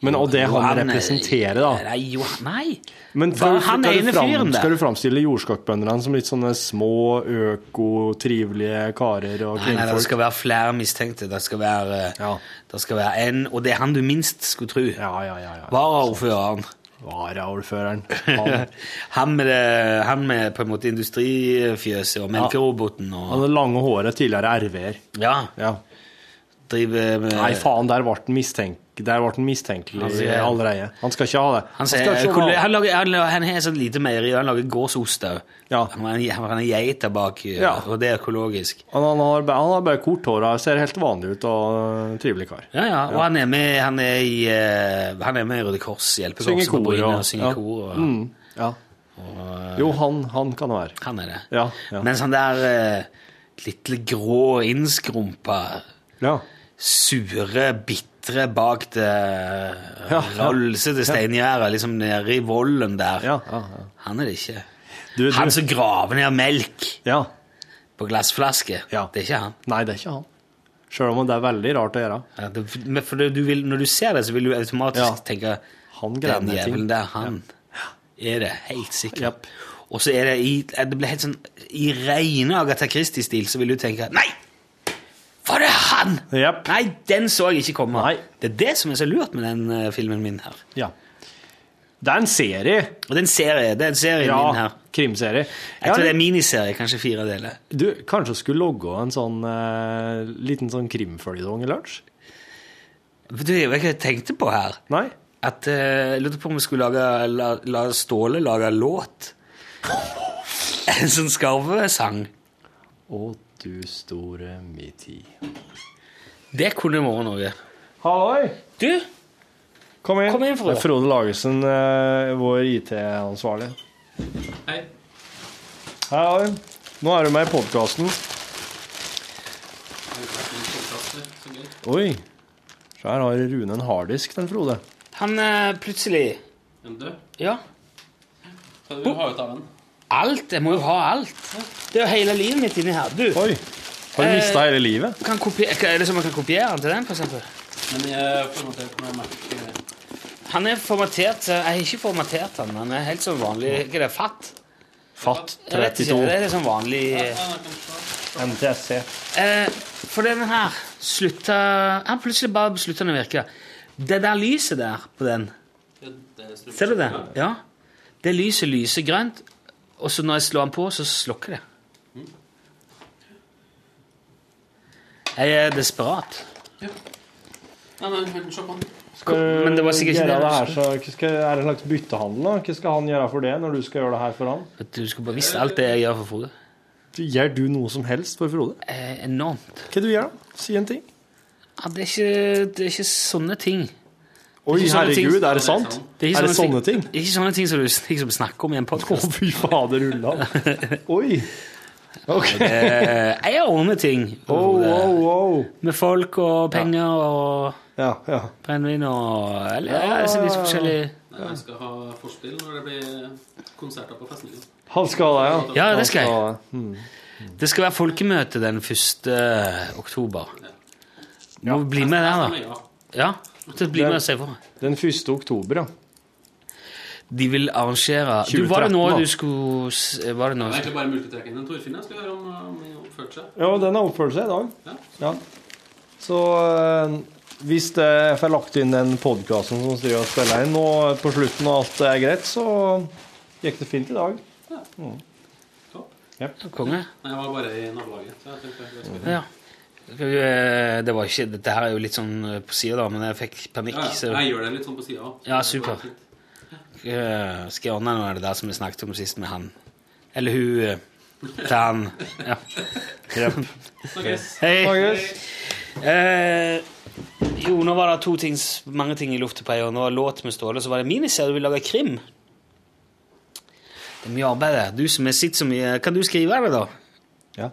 S5: Men, og det
S2: Jo,
S5: han
S2: eh,
S5: representerer, da.
S2: Nei, jo, nei.
S5: Men
S2: Hva,
S5: skal, du-
S2: han
S5: skal,
S2: ene
S5: du fram,
S2: fyren der?
S5: skal du framstille jordskokkbøndene som litt sånne små, øko, trivelige karer og
S2: Nei, nei, det
S5: kvinnfolk?
S2: skal være flere mistenkte. Det skal være, eh,
S5: Ja.
S2: det skal være en, og det er han du minst skulle tro.
S5: Ja, ja, ja. ja.
S2: Varaordføreren.
S5: Varaordføreren. Han,
S2: [LAUGHS] Han med, det, han med på en måte industrifjøset og melkeroboten
S5: han
S2: og
S5: det lange håret, tidligere RV-er.
S2: Ja,
S5: Ja.
S2: driver med
S5: Nei, faen, der ble han mistenk- der ble han mistenkelig
S2: sier-
S5: allerede. Han skal ikke ha det.
S2: Han,
S5: skal
S2: sier,
S5: ikke ha-
S2: kolle- han, lager, han, lager- han har sånn lite meieri, og han lager gårdsost òg.
S5: Ja.
S2: Han har en- han har en geit der bak, eh,
S5: Ja.
S2: og det er økologisk.
S5: Han, han, har, ba- han har bare kort hår og ser helt vanlig ut og øh, trivelig kar.
S2: Ja, ja, og han er med, han er i, eh, han er med i Røde Kors,
S5: Synger
S2: hjelpekorpset på
S5: kor
S2: Bryne
S5: og-
S2: og synger
S5: ja.
S2: kor. Og, eh,
S5: Mm, ja. Jo, han, han kan det være.
S2: Han er det.
S5: Ja, ja.
S2: Mens han der eh, lille grå, innskrumpa,
S5: Ja.
S2: sure, bitre bak det eh,
S5: Ja, ja.
S2: rolsete steingjerdet, liksom nede i volden der,
S5: Ja, ja, ja.
S2: han er det ikke.
S5: Du- du-
S2: Han som graver ned melk
S5: Ja.
S2: på glassflaske.
S5: Ja.
S2: Det er ikke han.
S5: Nei, det er ikke han. Sjøl om det er veldig rart å gjøre.
S2: Ja, det, men for det, du vil, når du ser det, så vil du automatisk
S5: Ja.
S2: tenke
S5: Han greier
S2: Den
S5: ned ting.
S2: jævelen der, han er det, helt sikkert.
S5: Japp.
S2: Og så er det i, det blir helt sånn, i rene Agatha Christie-stil, så vil du tenke Nei! Var det han?!
S5: Japp.
S2: Nei, den så jeg ikke komme.
S5: Nei.
S2: Det er det som er så lurt med den eh, filmen min her.
S5: Ja. Det er en serie.
S2: Og den serie, den serien
S5: Ja,
S2: min her.
S5: krimserie.
S2: Jeg tror det er miniserie, kanskje fire deler.
S5: Du, kanskje skulle logge en sånn eh, liten sånn krimføljetong i lunsj?
S2: Du, jeg vet ikke hva jeg tenkte på her.
S5: Nei?
S2: At eh, Jeg lurte på om vi skulle lage, la, la Ståle lage låt. En sånn skarvesang.
S5: Å, du store mi tid.
S2: Det kunne vært noe.
S5: Halloi!
S2: Du,
S5: Kom inn.
S2: Kom inn, Frode.
S5: Det er Frode Lagesen, eh, vår IT-ansvarlig. Hei. Hei, Nå er du med i podkasten. Oi. Så her har Rune en harddisk, den Frode.
S2: han eh, plutselig Ja. Alt. Jeg må jo ha alt. Det er jo hele livet mitt inni her. Du,
S5: Oi. Har du mista
S2: Eh.
S5: hele livet?
S2: kan kopier- er det som jeg kan kopiere den til den, for eksempel? Han er formatert eh, Jeg har ikke formatert han, han er helt som vanlig Ikke det, fatt?
S5: Fatt
S2: Jeg vet ikke,
S5: 32.
S2: Eh, det er som vanlig eh.
S5: MTSC.
S2: Eh, For den her slutta Han plutselig bare slutta den å virke. Det der lyset der på den Ser du det? Ja. Det lyset lyser grønt, og så når jeg slår den på, så slukker det. Mm. Jeg er desperat. Men det var sikkert ikke
S5: Gjøre
S2: det.
S5: det her, så, hva skal, er det en slags byttehandel? da? Hva skal han gjøre for det, når du skal gjøre det her for han?
S2: Vet Du du skulle bare visst alt det jeg gjør for Frode.
S5: Gjør du noe som helst for Frode?
S2: Eh, Enormt.
S5: Hva du gjør da? Si en ting.
S2: Ja, det, er ikke, det er ikke sånne ting.
S5: Oi,
S2: ikke sånne ting.
S5: herregud, er det sant?
S2: Det er, ikke
S5: Er det sånne ting?
S2: Det er ikke sånne ting som du liksom snakker om i en
S5: Å,
S2: podkast.
S5: fy fader, Ulla. [LAUGHS] Oi. Ok.
S2: Eh, Jeg har ordnet ting
S5: Wow, wow, wow.
S2: med folk og penger og
S5: Ja, ja.
S2: brennevin og eller, ja, altså, litt forskjellig
S5: Han skal ha det, ja.
S2: Ja, det skal jeg.
S5: Han ha det.
S2: Det skal være folkemøte den 1. oktober. Må bli med der, da. Ja. så Bli med og se på.
S5: Den 1. oktober, ja.
S2: De vil arrangere du, Var det
S5: 2013
S2: nå
S5: da.
S2: du skulle s- Var det nå?
S5: Ja, den har oppført seg i dag. Ja. Så eh, hvis det jeg får lagt inn den podkasten som styrer og spiller inn nå på slutten, og alt er greit, så gikk det fint i dag.
S2: Konge? Ja. Skal vi, eh, Det var ikke Dette her er jo litt sånn eh, på sida, da, men jeg fikk panikk. Så
S4: Jeg gjør det litt sånn på sida òg.
S2: Ja, super. Eh, skal jeg ordne noe av det der som vi snakket om sist med han Eller hun eh, til han. Ja. Hei. Eh, jo, nå var det to ting, s- mange ting i lufta på en gang. Nå var det låt med Ståle, så var det miniserie. Du vil lage krim. Det er mye arbeid der. Du som er sitt så mye Kan du skrive det, da?
S5: Ja.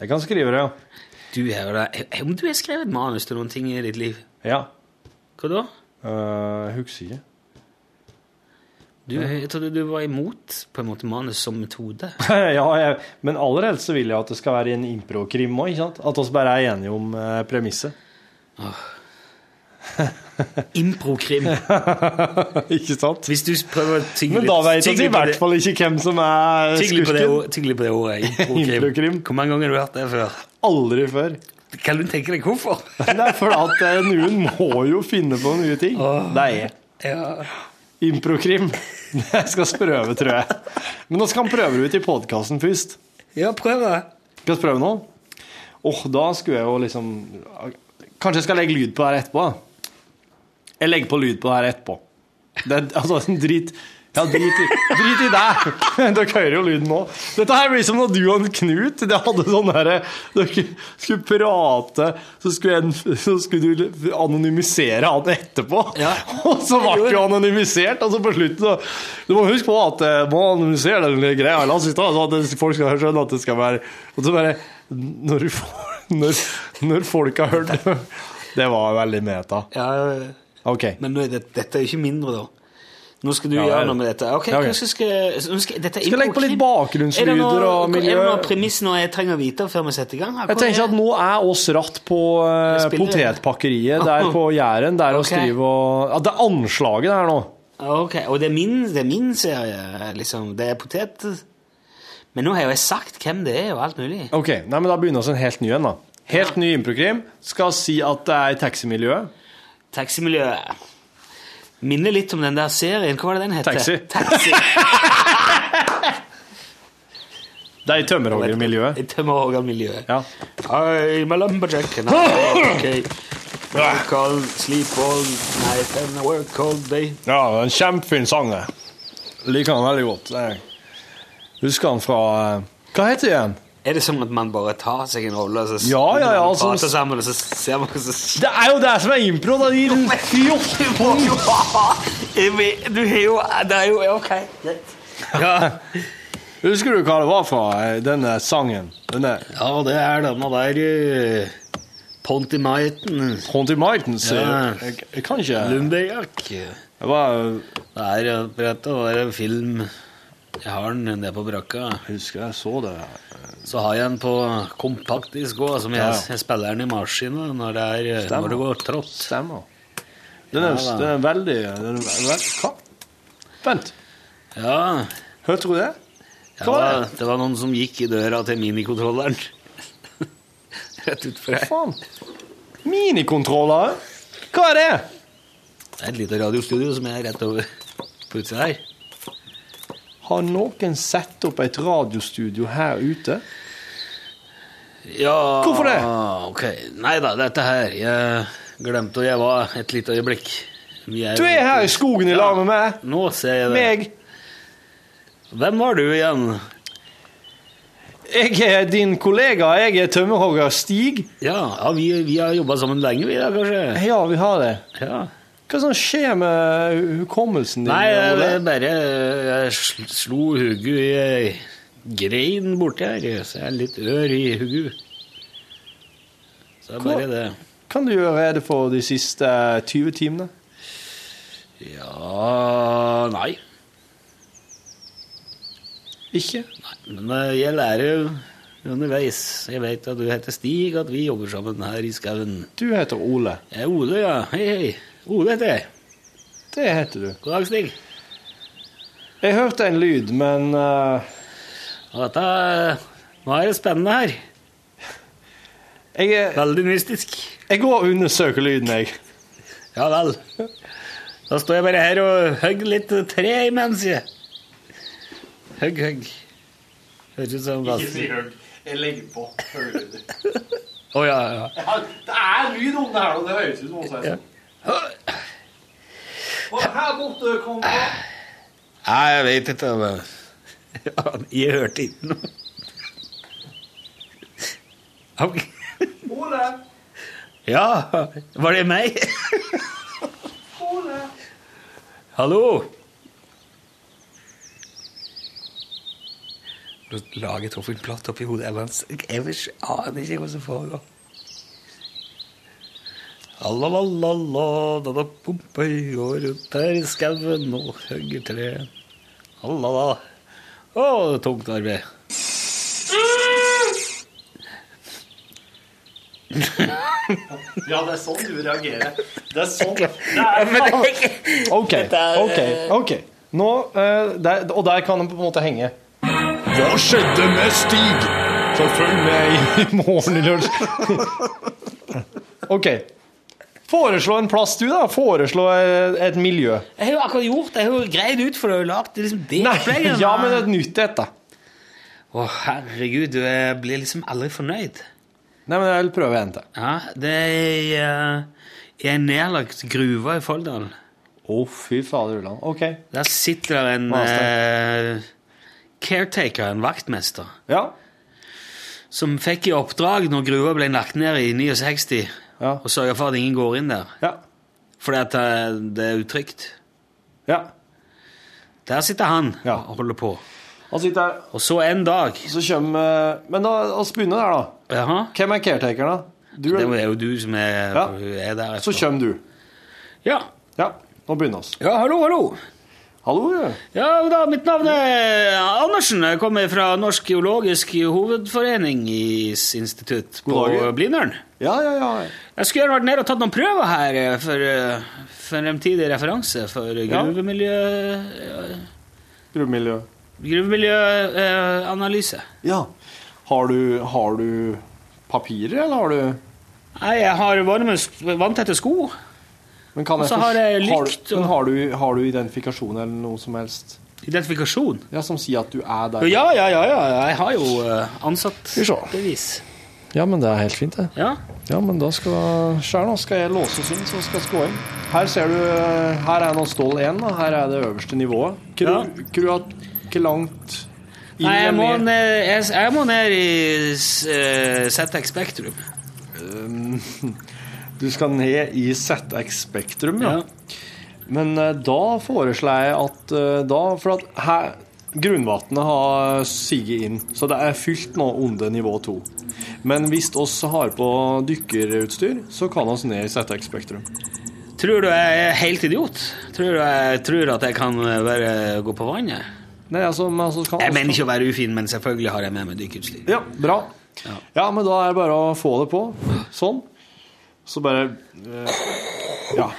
S5: Jeg kan skrive det, ja.
S2: Du er jo der. Eh, Om du har skrevet manus til noen ting i ditt liv,
S5: Ja.
S2: hva da?
S5: Uh, Husker ikke.
S2: Du, jeg trodde du var imot på en måte manus som metode.
S5: [LAUGHS] ja, jeg, men aller helst så vil jeg at det skal være en improkrim òg. At oss bare er enige om eh, premisset.
S2: [LAUGHS] Improkrim.
S5: ikke sant?
S2: Hvis du prøver å tygle
S5: Men da vet
S2: tygle
S5: vi i
S2: på
S5: hvert
S2: det-
S5: fall ikke hvem som er
S2: tygle på det
S5: skurken.
S2: ord- Tygle på det
S5: [LAUGHS]
S2: ordet. Improkrim.
S5: Improkrim.
S2: Hvor mange ganger har du hørt det før?
S5: Aldri før.
S2: Kan du tenke deg hvorfor?
S5: [LAUGHS] Det er fordi at eh, noen må jo finne på nye ting. Det er jeg.
S2: Ja.
S5: Improkrim. [LAUGHS] Jeg skal prøve, tror jeg. Men nå skal han prøve det ut i podkasten først.
S2: ja, prøv det.
S5: Skal vi prøve nå? Åh, da skulle jeg jo liksom Kanskje jeg skal legge lyd på det her etterpå? da. Jeg legger på lyd på det her etterpå. Det er altså [LAUGHS] en drit Ja, drit i, drit i deg! [LAUGHS] Dere hører jo lyden nå. Dette her blir som da du og en Knut det hadde sånn derre Dere skulle prate, så skulle, en, så skulle du anonymisere han etterpå.
S2: Ja.
S5: [LAUGHS] Og så ble du anonymisert, og så på slutten så Du må huske på at eh, må anonymisere den lille greia. La oss si da, så at folk skal skjønne at det skal være Og så bare Når, du får, når, når folk har hørt det Det var veldig meta.
S2: Ja,
S5: OK.
S2: men nå er det, dette er jo ikke mindre, da. Nå skal du
S5: Ja,
S2: gjøre
S5: ja.
S2: noe med dette. Ok,
S5: Ja, ok.
S2: kanskje skal, nå skal, dette er
S5: Skal legge på litt bakgrunnslyder
S2: Er det noe-
S5: og miljø.
S2: Er det noen premiss nå jeg trenger å vite før vi setter i gang? her?
S5: Jeg
S2: Hvor
S5: tenker
S2: er-
S5: at nå er oss ratt på eh,
S2: Jeg spiller.
S5: potetpakkeriet der på Jæren. Der
S2: Ok.
S5: oss driver og ja, Det er anslaget der nå.
S2: Ok, og det er min, det er min serie, liksom. Det er potet... Men nå har jo jeg sagt hvem det er, og alt mulig.
S5: Ok, nei, men Da begynner vi en helt ny en. da Helt ny improkrim. Skal si at det er i taximiljøet.
S2: Taximiljøet minner litt om den der serien. Hva var det den het?
S5: Taxi.
S2: Taxi. [LAUGHS]
S5: Det er i tømmerhoggermiljøet.
S2: I tømmerhoggermiljøet.
S5: Ja.
S2: I'm a lumberjack and I'm okay. Work all, sleep all night and I work all day.
S5: ja, det er en kjempefin sang. eh. det. Liker han veldig godt. Jeg husker han fra eh, Hva heter det igjen?
S2: Er det sånn at man bare tar seg en rolle, og så
S5: Ja, ja, ja,
S2: og
S5: altså-
S2: prater sammen, og så ser man hva som skjer?
S5: Det er jo det som er impro!
S2: [LAUGHS]
S5: Da, de fjorten punkt.
S2: Jeg vet- Du har jo Det er jo ja, OK.
S5: [LAUGHS]
S2: greit. Ja.
S5: Husker du hva det var fra eh, denne sangen? Denne
S2: ja, det er denne der uh, Pontimaiten. eh,
S5: Haunted Martins?
S2: Ja.
S5: Jeg, jeg kan ikke
S2: Lumberjack.
S5: Det var
S2: Det er eh, rett og slett en film Jeg har den nede på brakka.
S5: Jeg husker jeg så det.
S2: Så har jeg den på kompaktdisk òg, som jeg,
S5: Ja, ja.
S2: jeg spiller den i maskina når det, er, eh,
S5: Stemmer.
S2: når det går trått.
S5: Stemmer. Den
S2: Ja,
S5: er,
S2: da.
S5: den er veldig den er veld, Hva? Vent.
S2: Ja,
S5: Hørte du det?
S2: ja
S5: Hva var
S2: det,
S5: det?
S2: var noen som gikk i døra til
S5: [LAUGHS]
S2: minikontrolleren. Rett utfor her.
S5: Faen. Minikontroller? Hva er det?
S2: Det er et lite radiostudio som er rett over på utsida her.
S5: Har noen satt opp et radiostudio her ute?
S2: Ja,
S5: Hvorfor det?
S2: Ok, Nei da, dette her Jeg glemte hvor jeg var et lite øyeblikk. Vi
S5: Du er her i skogen i lag med meg.
S2: Nå ser jeg det.
S5: Meg.
S2: Hvem var du igjen?
S5: Jeg er din kollega. Jeg er tømmerhogger Stig.
S2: Ja, ja vi, vi har jobba sammen lenge, vi da, kanskje?
S5: Ja, vi har det.
S2: Ja.
S5: Hva som skjer med hu- hukommelsen din?
S2: Nei,
S5: Ole?
S2: jeg bare jeg sl- slo hodet i ei grein borti her, så jeg er litt ør i hodet. Så det er bare det.
S5: Kan du gjøre rede for de siste 20 timene?
S2: Ja Nei.
S5: Ikke?
S2: Men eh, jeg lærer underveis. Jeg vet at du heter Stig, at vi jobber sammen her i skauen.
S5: Du heter Ole.
S2: Jeg er Ole, ja. Hei, hei. Ole heter jeg.
S5: Det heter du.
S2: God dag, Stig.
S5: Jeg hørte en lyd, men eh,
S2: Og dette Nå er det spennende her.
S5: jeg, er-
S2: Veldig mystisk.
S5: jeg går og undersøker lyden, jeg.
S2: Ja vel. Da står jeg bare her og hogger litt tre imens, jeg. Hogg, hogg. Høres ut som Ikke si hogg. Jeg legger på. Å ja, ja.
S5: Det er lyd om det her, og det høres ut som noe
S2: Ja.
S5: Og her borte kom det
S2: Nei, jeg vet ikke. Men... [LAUGHS] Ja, jeg hørte ikke noe. Ok.
S5: Ole!
S2: Ja, var det meg?
S5: Ole!
S2: Hallo? Nå lager Torfinn platt oppi hodet. Jeg bare- Jeg vet- aner ikke hva som foregår. Allalalala, da da pumper jeg går rundt her i skauen og hogger tre. Allala. Å, det er tungt arbeid.
S5: [LAUGHS] Ja, det er sånn du reagerer. Det er sånn. OK. OK. ok. Nå, eh, der, og der kan den på en måte henge. Hva skjedde med Stig? Så følg med i [LAUGHS] morgen i lunsj. OK. Foreslå en plass, du, da. Foreslå eh, et miljø.
S2: Jeg har jo akkurat gjort det. Jeg har jo greid ut, for du har jo lagd liksom det
S5: Nei,
S2: opplegget.
S5: ja, men et nytt et, da.
S2: Å, herregud, du jeg blir liksom aldri fornøyd.
S5: Nei, men jeg vil prøve en til.
S2: Ja, det er eh, i en nedlagt gruve i Folldal.
S5: Å, fy fader ulland. OK.
S2: Der sitter det en eh, caretaker, en vaktmester,
S5: Ja.
S2: som fikk i oppdrag når gruva ble lagt ned i 69,
S5: Ja.
S2: å sørge for at ingen går inn der,
S5: Ja.
S2: fordi at eh, det er utrygt.
S5: ja.
S2: Der sitter han
S5: Ja.
S2: og holder på.
S5: Han sitter her,
S2: Og så en dag
S5: så kommer eh, Men da, oss begynner der, da.
S2: Jaha.
S5: Hvem er caretakeren, da? Du,
S2: Det
S5: eller-
S2: er jo du som er,
S5: Ja.
S2: er der.
S5: Så
S2: etterpå.
S5: kommer du.
S2: Ja.
S5: Ja, nå begynner oss.
S2: ja, hallo, hallo.
S5: Hallo, ja.
S2: Ja, god dag. Mitt navn er Andersen. Jeg kommer fra Norsk geologisk hovedforening i s- institutt på
S5: God dag.
S2: Blindern.
S5: Ja, ja, ja.
S2: Jeg skulle gjerne vært nede og tatt noen prøver her eh, for, eh, for en fremtidig referanse for gruvemiljø... eh,
S5: Gruvemiljø.
S2: Gruvemiljøanalyse.
S5: Ja. Har du, har du papirer, eller har du
S2: Nei, jeg har varme sk- vanntette sko.
S5: Men kan
S2: Og så har
S5: forst-
S2: jeg
S5: har
S2: lykt
S5: du-
S2: og-
S5: men har, du, har du identifikasjon eller noe som helst
S2: Identifikasjon.
S5: Ja, som sier at du er der?
S2: Ja, ja, ja. ja. Jeg har jo eh,
S5: vi se.
S2: ansattbevis.
S5: Ja, men det er helt fint, det.
S2: Ja.
S5: Ja, men da skal Sjøl nå skal jeg låses inn, så skal jeg gå inn. Her ser du Her er nå stål 1, og her er det øverste nivået. Kru,
S2: Ja.
S5: kru at Hvor langt inn
S2: Nei, jeg må
S5: eller ned?
S2: ned, jeg, s- jeg må ned i uh, ZX Spektrum.
S5: Um, Du skal ned i ZX Spektrum, ja.
S2: Ja.
S5: Men eh, da foreslår jeg at eh, da For at her Grunnvatnet har siget inn, så det er fylt nå under nivå 2. Men hvis oss har på dykkerutstyr, så kan oss ned i ZX Spektrum.
S2: Tror du jeg er helt idiot? Tror du jeg tror at jeg kan eh, bare gå på vannet?
S5: Nei, altså, men altså kan
S2: Jeg mener ikke å være ufin, men selvfølgelig har jeg med meg dykkerutstyr.
S5: Ja, bra. Ja. men da er det bare å få det på. Sånn. Så bare eh, Ja.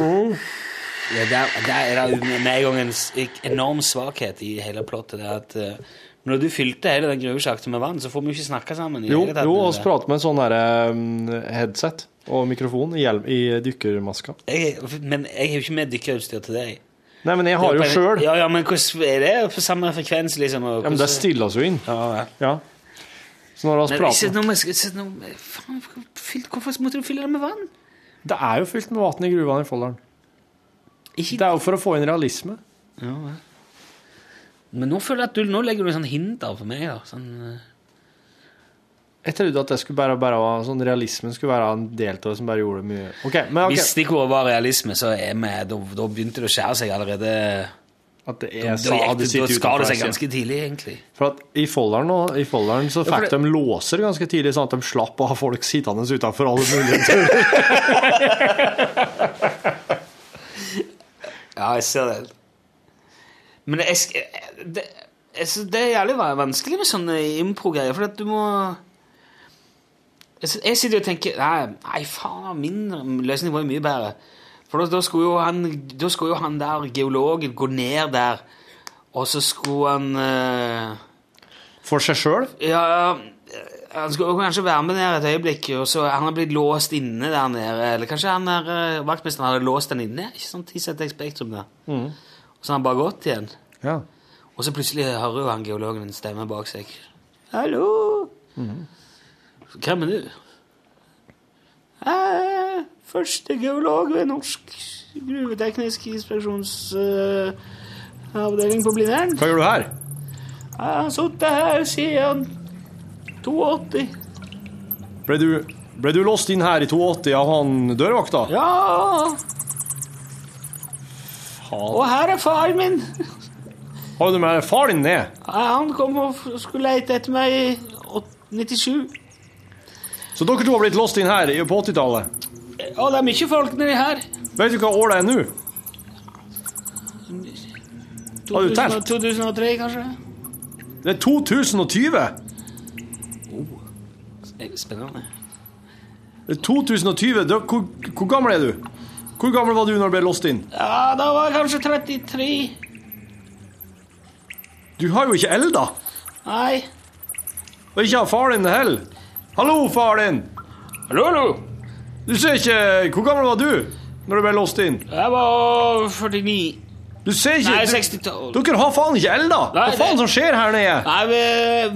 S2: Ja, der, der er det jo med en gang en s- enorm svakhet i hele plottet. Det er at eh, når du fylte hele den gruvesjakta med vann, så får vi jo ikke snakka sammen. i
S5: Jo,
S2: hele tatt
S5: jo
S2: med
S5: oss
S2: det.
S5: prater med sånn derre mm, headset og mikrofon i, hjelm, i dykkermaska.
S2: jeg, Men jeg har jo ikke med dykkerutstyr til deg.
S5: Nei, men jeg har jo sjøl. Ja,
S2: Ja, ja, men hvordan er det på samme frekvens, liksom? Og,
S5: men det stiller oss jo inn.
S2: ja, ja.
S5: Ja. Så når vi
S2: Men ikke
S5: prater
S2: noe med, ikke noe, faen, fylt- hvorfor måtte du fylle det med vann?
S5: Det er jo fylt med vann i gruva i Folldalen.
S2: Ikke,
S5: Det er jo for å få inn realisme.
S2: Men nå føler jeg at du, nå legger du en sånn hinder for meg. Da. Sånn, eh,
S5: Jeg trodde at det skulle bare, bare være, sånn realismen skulle være en del av det som bare gjorde det mye Ok, men ok.
S2: Hvis stikkordet var realisme, så er vi, da, da begynte det å skjære seg allerede.
S5: At det
S2: Da,
S5: er så
S2: gikk
S5: de
S2: det,
S5: sitter
S2: da skar det
S5: utenfor
S2: seg
S5: her,
S2: ganske tidlig, egentlig.
S5: For at I Folldalen nå, i Folldalen så
S2: for
S5: fikk
S2: det-
S5: de låser ganske tidlig, sånn at de slapp å ha folk sittende utenfor alle
S2: [LAUGHS]
S5: muligheter.
S2: Ja, jeg ser det. Men jeg, sk- det, jeg synes det er jævlig vanskelig med sånne impro-greier, for at du må Jeg s- jeg sitter jo og tenker Nei, nei faen, min løsning var jo mye bedre. For da, da, skulle jo han, da skulle jo han der geologen gå ned der, og så skulle han eh,
S5: For seg sjøl.
S2: Ja, han skulle jo kanskje være med ned et øyeblikk, og så han har blitt låst inne der nede. Eller kanskje han der eh, vaktmesteren hadde låst den inne? Ikke sånn T-ZX Spektrum der. Og så har han bare gått igjen.
S5: Ja.
S2: Og så plutselig hører jo han geologen en stemme bak seg. Hallo? Hvem er du? Jeg er første geolog ved Norsk gruveteknisk inspeksjonsavdeling på Blindern.
S5: Hva gjør du her?
S2: Jeg har sittet her siden 82.
S5: Ble du, ble du låst inn her i 82 av han dørvakta?
S2: Ja, og her er faren min.
S5: Har du med far din ned?
S2: Han kom og f- skulle lete etter meg i åt- 97.
S5: Så dere to har blitt låst inn her i- på 80-tallet.
S2: Og det er mye folk nedi her.
S5: Vet du hva år det er nå? Har du
S2: 2000
S5: telt?
S2: 2003, kanskje?
S5: Det er 2020!
S2: Spennende.
S5: Det er 2020. Da, hvor, hvor gammel er du? Hvor gammel var du når du ble låst inn?
S2: Ja, da var jeg kanskje 33.
S5: Du har jo ikke elda!
S2: Nei.
S5: Og ikke har far din heller. Hallo, far din!
S2: Hallo, hallo.
S5: Du ser ikke Hvor gammel var du når du ble låst inn?
S2: Jeg var 49.
S5: Du ser ikke
S2: Nei,
S5: du-
S2: 62.
S5: Dere har faen ikke elda! Hva
S2: Nei, det-
S5: faen som skjer her nede?
S2: Nei, vi,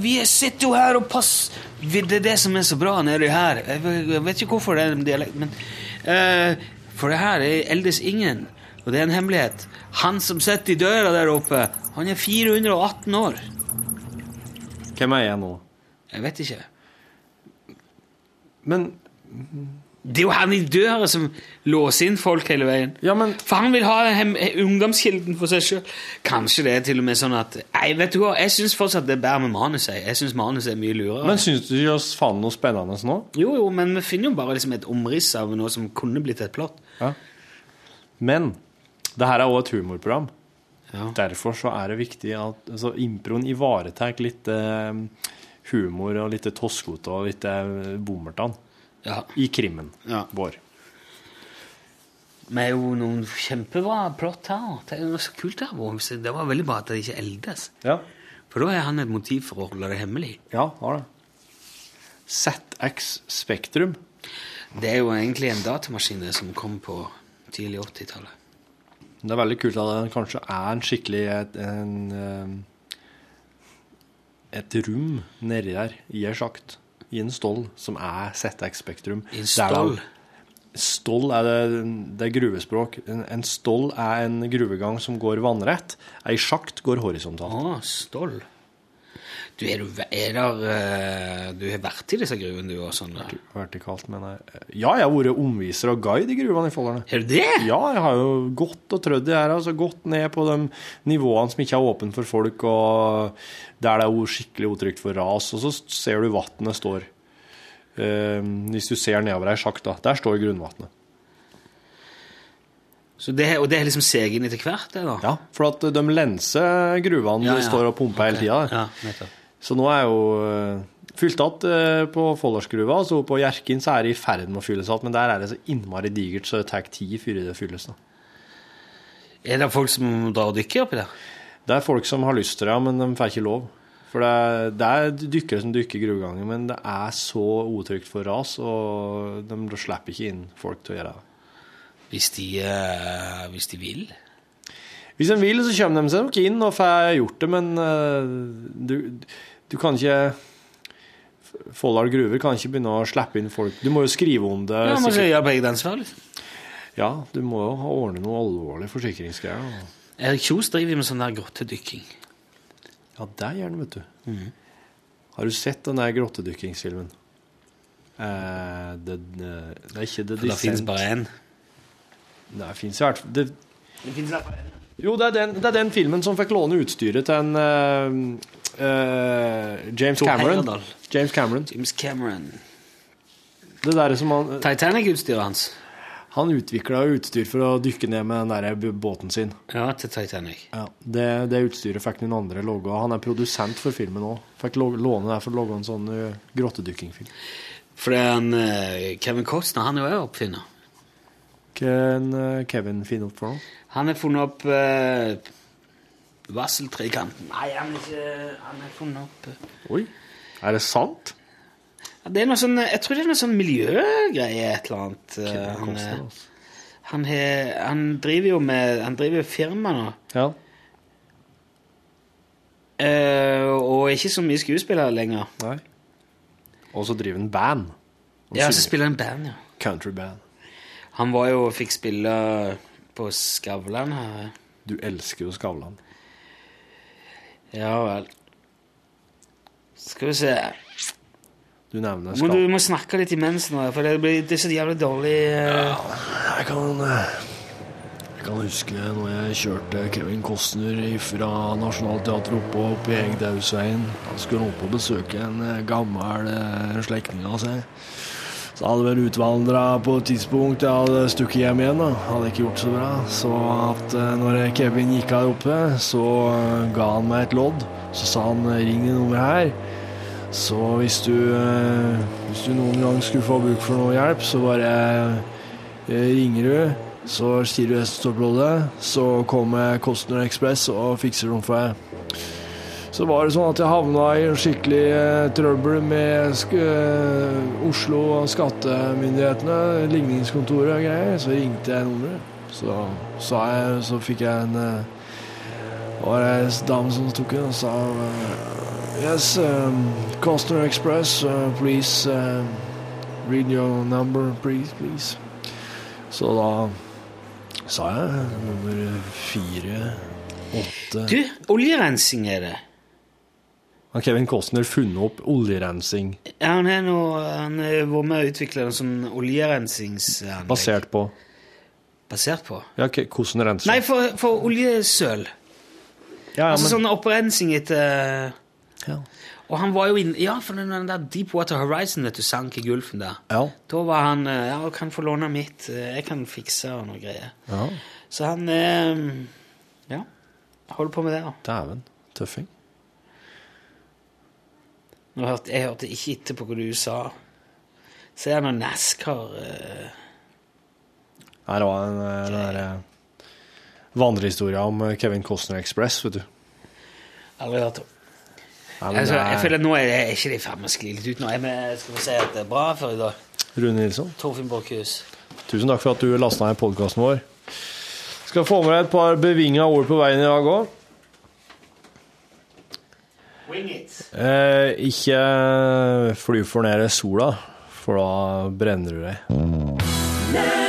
S2: vi sitter jo her og passer Vi- Det er det som er så bra nedi her. Jeg vet- Jeg vet ikke hvorfor det er en dialekt, men eh, For det her er eldes ingen, og det er en hemmelighet. Han som sitter i døra der oppe, han er 418 år.
S5: Hvem er jeg nå?
S2: Jeg vet ikke.
S5: Men
S2: Det er jo han i døra som låser inn folk hele veien.
S5: Ja, men-
S2: For han vil ha hem, ungdomskilden for seg sjøl. Kanskje det er til og med sånn at Nei, vet du hva, jeg syns fortsatt det bærer med manuset. Jeg Jeg syns manuset er mye lurere.
S5: Men syns du ikke oss faen noe spennende nå?
S2: jo, jo, men vi finner jo bare liksom et omriss av noe som kunne blitt et plott.
S5: Men det her er også et humorprogram.
S2: Ja.
S5: Derfor så er det viktig at altså, improen ivaretar litt eh, humor og litt toskete og litt eh, bommertan
S2: Ja.
S5: i krimmen
S2: Ja.
S5: vår.
S2: Vi er jo noen kjempebra plott her. Det er jo noe så kult her. Bård. Så Det var veldig bra at det ikke eldes.
S5: Ja,
S2: For da er han et motiv for å holde det hemmelig.
S5: ja har det. ZX Spektrum.
S2: Det er jo egentlig en datamaskin det som kom på tidlig 80-tallet.
S5: Det er veldig kult at det kanskje er en skikkelig et, en, eh, et rom nedi der, i ei sjakt, i en stål, som er ZX Spektrum.
S2: I en
S5: Det er da-
S2: stål?
S5: Stål er det, det er gruvespråk. En, en stål er en gruvegang som går vannrett. Ei sjakt går horisontalt.
S2: Å, stål. Du, er du, er der, eh, du har vært i disse gruvene, du, og sånn? da?
S5: Vertikalt, mener jeg. Ja, jeg har vært omviser og guide i gruvene i Folldalen.
S2: Har du det?
S5: Ja, jeg har jo gått og trødd i her, altså gått ned på de nivåene som ikke er åpne for folk, og der det er jo skikkelig utrygt for ras, og så ser du vattnet står. Eh, hvis du ser nedover ei sjakt, da. Der står grunnvattnet.
S2: Så det, og det har liksom seget inn etter hvert, det, da?
S5: Ja, for at de lenser gruvene
S2: Ja,
S5: de
S2: ja.
S5: står og pumper hele tida.
S2: Ja, nettopp.
S5: Så nå er jo eh, fylt igjen på Folldalsgruva, så på Hjerkinn så er det i ferd med å fylles igjen, men der er det så innmari digert, så det tar tid før det fylles. da.
S2: Er det folk som drar og dykker oppi der?
S5: Det er folk som har lyst til det, men de får ikke lov. For det er, det er dykkere som dykker i gruvegangen, men det er så utrygt for ras, og de slipper ikke inn folk til å gjøre det.
S2: Hvis de, eh, hvis de vil?
S5: Hvis de vil, så kommer de seg nok inn og får gjort det, men eh, du, du kan ikke Folldal gruver kan ikke begynne å slippe inn folk. Du må jo skrive om det.
S2: Ja, man
S5: sikkert.
S2: skal gjøre begge dansfag, liksom.
S5: ja du må jo ha ordne noe alvorlig forsikringsgreier. da.
S2: Erik Kjos driver med sånn der grottedykking.
S5: Ja, det gjør den, vet du.
S2: Mhm.
S5: Har du sett den der grottedykkingsfilmen? Eh, det, det, det er ikke The
S2: Det finnes
S5: Descent.
S2: bare én.
S5: Nei, det fins i hvert fall det- Jo, det er, den, det er den filmen som fikk låne utstyret til en eh, eh, James
S2: Thor
S5: Cameron.
S2: Heyerdahl.
S5: James Cameron.
S2: James Cameron.
S5: Det der som han,
S2: Titanic-utstyret hans.
S5: han utvikla utstyr for å dykke ned med den der b- båten sin.
S2: Ja, til Titanic.
S5: Det, det utstyret fikk noen andre logge av. Han er produsent for filmen òg. Fikk lo- låne det for å logge en sånn eh, grottedykkingfilm.
S2: For det er han, eh, Kevin Costner han er jo også oppfinner.
S5: Hva en, eh, Kevin finner opp for noe?
S2: Han har funnet opp eh, Vasseltrekanten. Nei, han er ikke Han har funnet opp eh.
S5: Oi, er det sant?
S2: ja, Det er noe sånn eh, Jeg tror det er noe sånn miljøgreie, et eller annet. eh, han,
S5: Kostner,
S2: eh,
S5: altså.
S2: han, har- han driver jo med Han driver jo firma nå.
S5: Ja.
S2: eh, og er ikke så mye skuespiller lenger.
S5: Nei. Og så driver han band. Han
S2: Ja, så
S5: synger
S2: spiller han i band, ja.
S5: Countryband.
S2: Han var jo fikk spille på Skavlan her. eh.
S5: Du elsker jo Skavlan.
S2: Ja vel. Skal vi se
S5: Du nevner
S2: Må Du
S5: Skavlan.
S2: må snakke litt imens nå, for det, blir, det er så jævlig dårlig eh.
S5: Jeg kan, eh, jeg kan huske når jeg kjørte Kevin Costner fra Nationaltheatret oppå opp i Egdausveien. Han skulle opp og besøke en eh, gammel eh, slektning av seg. Så hadde vel utvandra på et tidspunkt. Jeg hadde stukket hjem igjen. da. Hadde ikke gjort så bra. Så at eh, når Kevin gikk her oppe, så eh, ga han meg et lodd. Så sa han eh, 'ring det nummeret her'. Så hvis du, eh, hvis du noen gang skulle få bruk for noe hjelp, så bare eh, ringer du. Så sier du jeg som står på loddet, så kommer Costner Express og fikser noe for deg. Så var det sånn at jeg havna i en skikkelig eh, trøbbel med sk eh, Oslo og skattemyndighetene, ligningskontoret og greier. Så ringte jeg nummeret. Så sa jeg, så fikk jeg en eh, var det en dame som tok den og sa eh, Yes, um, Costner Express, uh, please eh, read your number, please, please. Så da sa jeg nummer fire, åtte
S2: Du, oljerensing er det.
S5: Har Kevin Costner funnet opp oljerensing
S2: Ja, han har nå han eh, har vært med å utvikle en sånn oljerensingsanlegg.
S5: basert på
S2: Basert på?
S5: Ja, ok, hvordan renser
S2: Nei, for, for oljesøl.
S5: ja, ja,
S2: altså
S5: men,
S2: sånn opprensing etter
S5: Ja.
S2: Og han var jo inne Ja, for den den der Deepwater Horizon, vet du, sank i gulfen der.
S5: ja.
S2: Da var han eh, Ja, du kan få låne mitt. eh, Jeg kan fikse og noe greier.
S5: ja,
S2: Så han eh, Ja. Holder på med det, da.
S5: dæven. Tøffing.
S2: Nå hørte, jeg hørte ikke etter på hva du sa. Så er det noe NASCAR eh,
S5: Her var en eh, den der eh, vandrehistoria om eh, Kevin Costner Express, vet du.
S2: Aldri hørt om.
S5: Nei, men
S2: Altså,
S5: det er
S2: jeg føler at Nå er jeg ikke det i ferd med å skli litt ut. Nå er vi, skal vi si at det er bra for i dag.
S5: Rune Nilsson,
S2: Torfinn Borchhus.
S5: tusen takk for at du lasta ned podkasten vår. Skal få med deg et par bevinga ord på veien i dag òg.
S2: Wing it.
S5: Eh, ikke fly for nære sola, for da brenner du deg.
S11: Nerd.